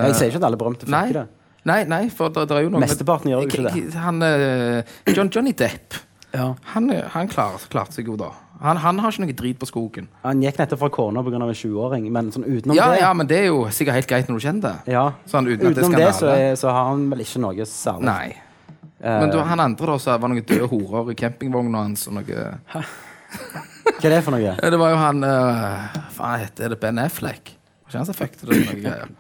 Speaker 1: Jeg sier ikke at alle berømte
Speaker 3: Eh, Nei,
Speaker 1: fucker det.
Speaker 3: nei, nei for det, det er jo noe
Speaker 1: Mesteparten gjør jo ikke det.
Speaker 3: Han, eh, John, Johnny Depp,
Speaker 1: Ja.
Speaker 3: han, eh, han klar, klarte seg jo da. Han, han har ikke noe drit på skogen.
Speaker 1: Han gikk nettopp fra kona pga. en 20-åring, men sånn utenom
Speaker 3: Ja,
Speaker 1: det
Speaker 3: ja, men det er jo sikkert helt greit når du kjenner det.
Speaker 1: Ja.
Speaker 3: Sånn, uten at det er
Speaker 1: Utenom det så,
Speaker 3: skandale.
Speaker 1: er, så har han vel ikke noe særlig.
Speaker 3: Nei.
Speaker 1: Eh.
Speaker 3: Men du, han andre, da, så var det noen døde horer i campingvogna hans og noe
Speaker 1: Hva er det for noe?
Speaker 3: Ja, Det var jo han eh, Faen, heter det Ben Affleck? Var ikke han som fucket det? eller noe eh,
Speaker 1: *laughs*
Speaker 3: greier?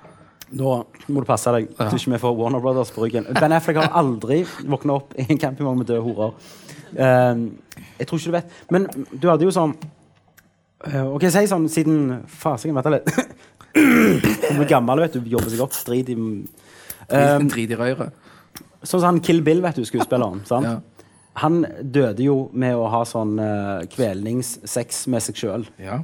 Speaker 1: Nå må du passe deg, så ikke vi får Warner Brothers på ryggen. Ben Affleck har aldri våkna opp i en campingvogn med døde horer. Ehm, jeg tror ikke du vet. Men du hadde jo sånn eh, OK, si sånn siden Fasingen, vent da litt. *coughs* Du er gammel, vet du. Jobber seg opp. Strid i Um,
Speaker 3: Liten drit i røret.
Speaker 1: Sånn som han Kill Bill, vet du, skuespilleren. sant?
Speaker 3: Ja.
Speaker 1: Han døde jo med å ha sånn uh, kvelningssex med seg sjøl.
Speaker 3: Ja.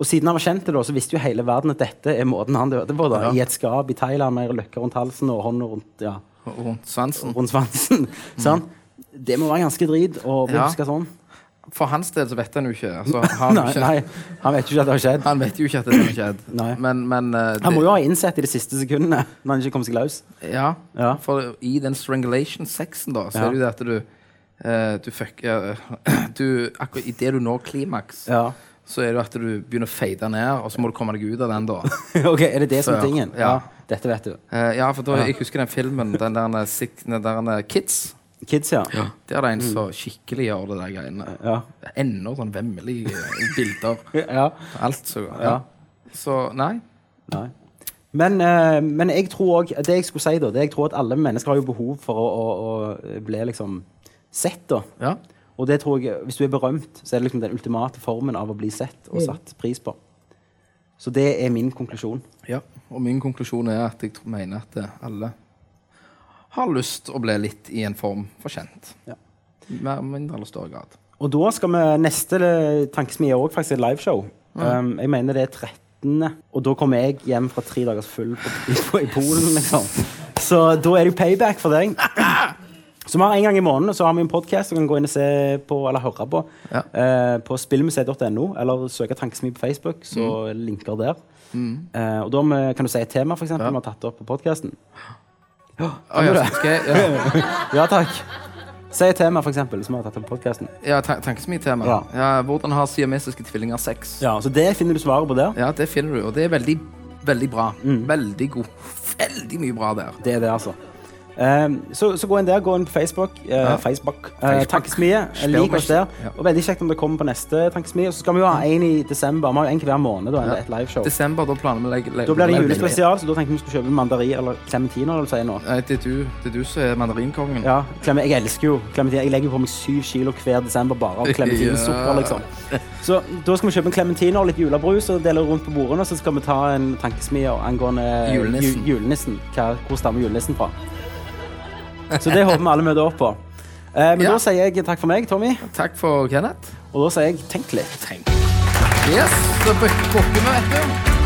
Speaker 1: Og siden han var kjent til det, så visste jo hele verden at dette er måten han døde på. da,
Speaker 3: Ja.
Speaker 1: I et skap i Thailand med løkker rundt halsen og hånda rundt, ja,
Speaker 3: Og Rundt svansen.
Speaker 1: rundt svansen. sant? Sånn. Det må være ganske drit å bli
Speaker 3: Ja.
Speaker 1: huska sånn.
Speaker 3: For hans del så vet han jo ikke.
Speaker 1: *laughs*
Speaker 3: Altså, har han,
Speaker 1: Nei,
Speaker 3: ikke
Speaker 1: nei, Han vet jo ikke at det har skjedd.
Speaker 3: han vet jo ikke at det har skjedd.
Speaker 1: Nei.
Speaker 3: Men, men eh,
Speaker 1: Han må
Speaker 3: det-
Speaker 1: jo ha innsett i de siste sekundene når han ikke kom seg løs.
Speaker 3: ja,
Speaker 1: Ja.
Speaker 3: For i den strangulation-sexen, da, så
Speaker 1: Ja.
Speaker 3: er det jo det at du eh, Du fucker eh, *clears throat* Du Akkurat idet du når klimaks,
Speaker 1: Ja. *laughs*
Speaker 3: så er det jo at du begynner å fade ned, og så må du komme deg ut av
Speaker 1: *laughs*
Speaker 3: den, da.
Speaker 1: ok, Er det det som er
Speaker 3: Før,
Speaker 1: tingen? Ja.
Speaker 3: ja.
Speaker 1: Dette vet du.
Speaker 3: Eh, ja, for da, jeg husker den filmen, den der, eh, Sick- den der eh, Kids.
Speaker 1: Kids, ja. Mm.
Speaker 3: Der er det en som skikkelig gjør det der greiene.
Speaker 1: Ja.
Speaker 3: Ennå sånn vemmelige bilder.
Speaker 1: ja.
Speaker 3: Alt så
Speaker 1: Ja.
Speaker 3: Så nei.
Speaker 1: Nei. Men, eh, men jeg tror også, det jeg skulle si da, det er jeg tror at alle mennesker har jo behov for å, å, å bli liksom sett. da.
Speaker 3: Ja.
Speaker 1: Og det tror jeg, hvis du er berømt, så er det liksom den ultimate formen av å bli sett og satt pris på. Så det er min konklusjon.
Speaker 3: ja. Og min konklusjon er at jeg tro- mener at eh, alle har lyst å bli litt i en form for kjent.
Speaker 1: Ja.
Speaker 3: Mer mindre eller større grad.
Speaker 1: Og da skal vi neste eh, tankesmie er også faktisk et liveshow. Um, jeg mener det er 13. Og da kommer jeg hjem fra tre dagers full på, i, på, i Polen, liksom. Så da er det jo payback for deg. Så vi har en gang i måneden så har vi en podkast du kan gå inn og se på, eller høre på.
Speaker 3: Ja.
Speaker 1: Eh, på spillmuseet.no, eller søke Tankesmi på Facebook, så linker der. Eh, og da har vi- kan du si et tema for eksempel, vi har tatt opp på podkasten.
Speaker 3: Å, ja, så skal jeg, ja.
Speaker 1: Ja takk. Si et tema, for eksempel, som vi har tatt opp på podkasten.
Speaker 3: ja ta Tankesmitema. Ja.
Speaker 1: Ja.
Speaker 3: hvordan har siamesiske tvillinger sex?
Speaker 1: Ja, så det finner du svaret på der.
Speaker 3: Ja, det finner du, og det er veldig, veldig bra.
Speaker 1: Mm.
Speaker 3: Veldig god. *laughs* Veldig mye bra der.
Speaker 1: Det er det, altså. Ehm, så, så gå inn der, gå inn på Facebook. eh, Facebook. eh, Tankesmie.
Speaker 3: Spill
Speaker 1: Lik oss der.
Speaker 3: meg. Ja.
Speaker 1: Og veldig kjekt om dere kommer på neste Tankesmie. Og så skal vi jo ha en i desember. Vi har jo en hver måned, da. en- Et liveshow.
Speaker 3: Desember, da planlegger
Speaker 1: Da blir det julespesial, så da tenkte vi vi skulle kjøpe mandarin eller klementiner. Eller si nå.
Speaker 3: Nei, det er du, det er du som er mandarinkongen.
Speaker 1: Ja, klemme, jeg elsker jo klementin. Jeg legger jo på meg syv kilo hver desember bare av klementinsukker,
Speaker 3: *laughs* Ja.
Speaker 1: liksom. Så da skal vi kjøpe en klementiner og litt julebrus og dele rundt på bordene. Og så skal vi ta en tankesmie angående
Speaker 3: Julenissen.
Speaker 1: Ju, julenissen. Hva, hvor stammer julenissen fra? Så det håper vi alle møter opp på. Eh, men
Speaker 3: Ja.
Speaker 1: da sier jeg takk for meg, Tommy.
Speaker 3: Takk for Kenneth.
Speaker 1: Og da sier jeg tenk litt.
Speaker 3: Yes, da bukker vi, vet du.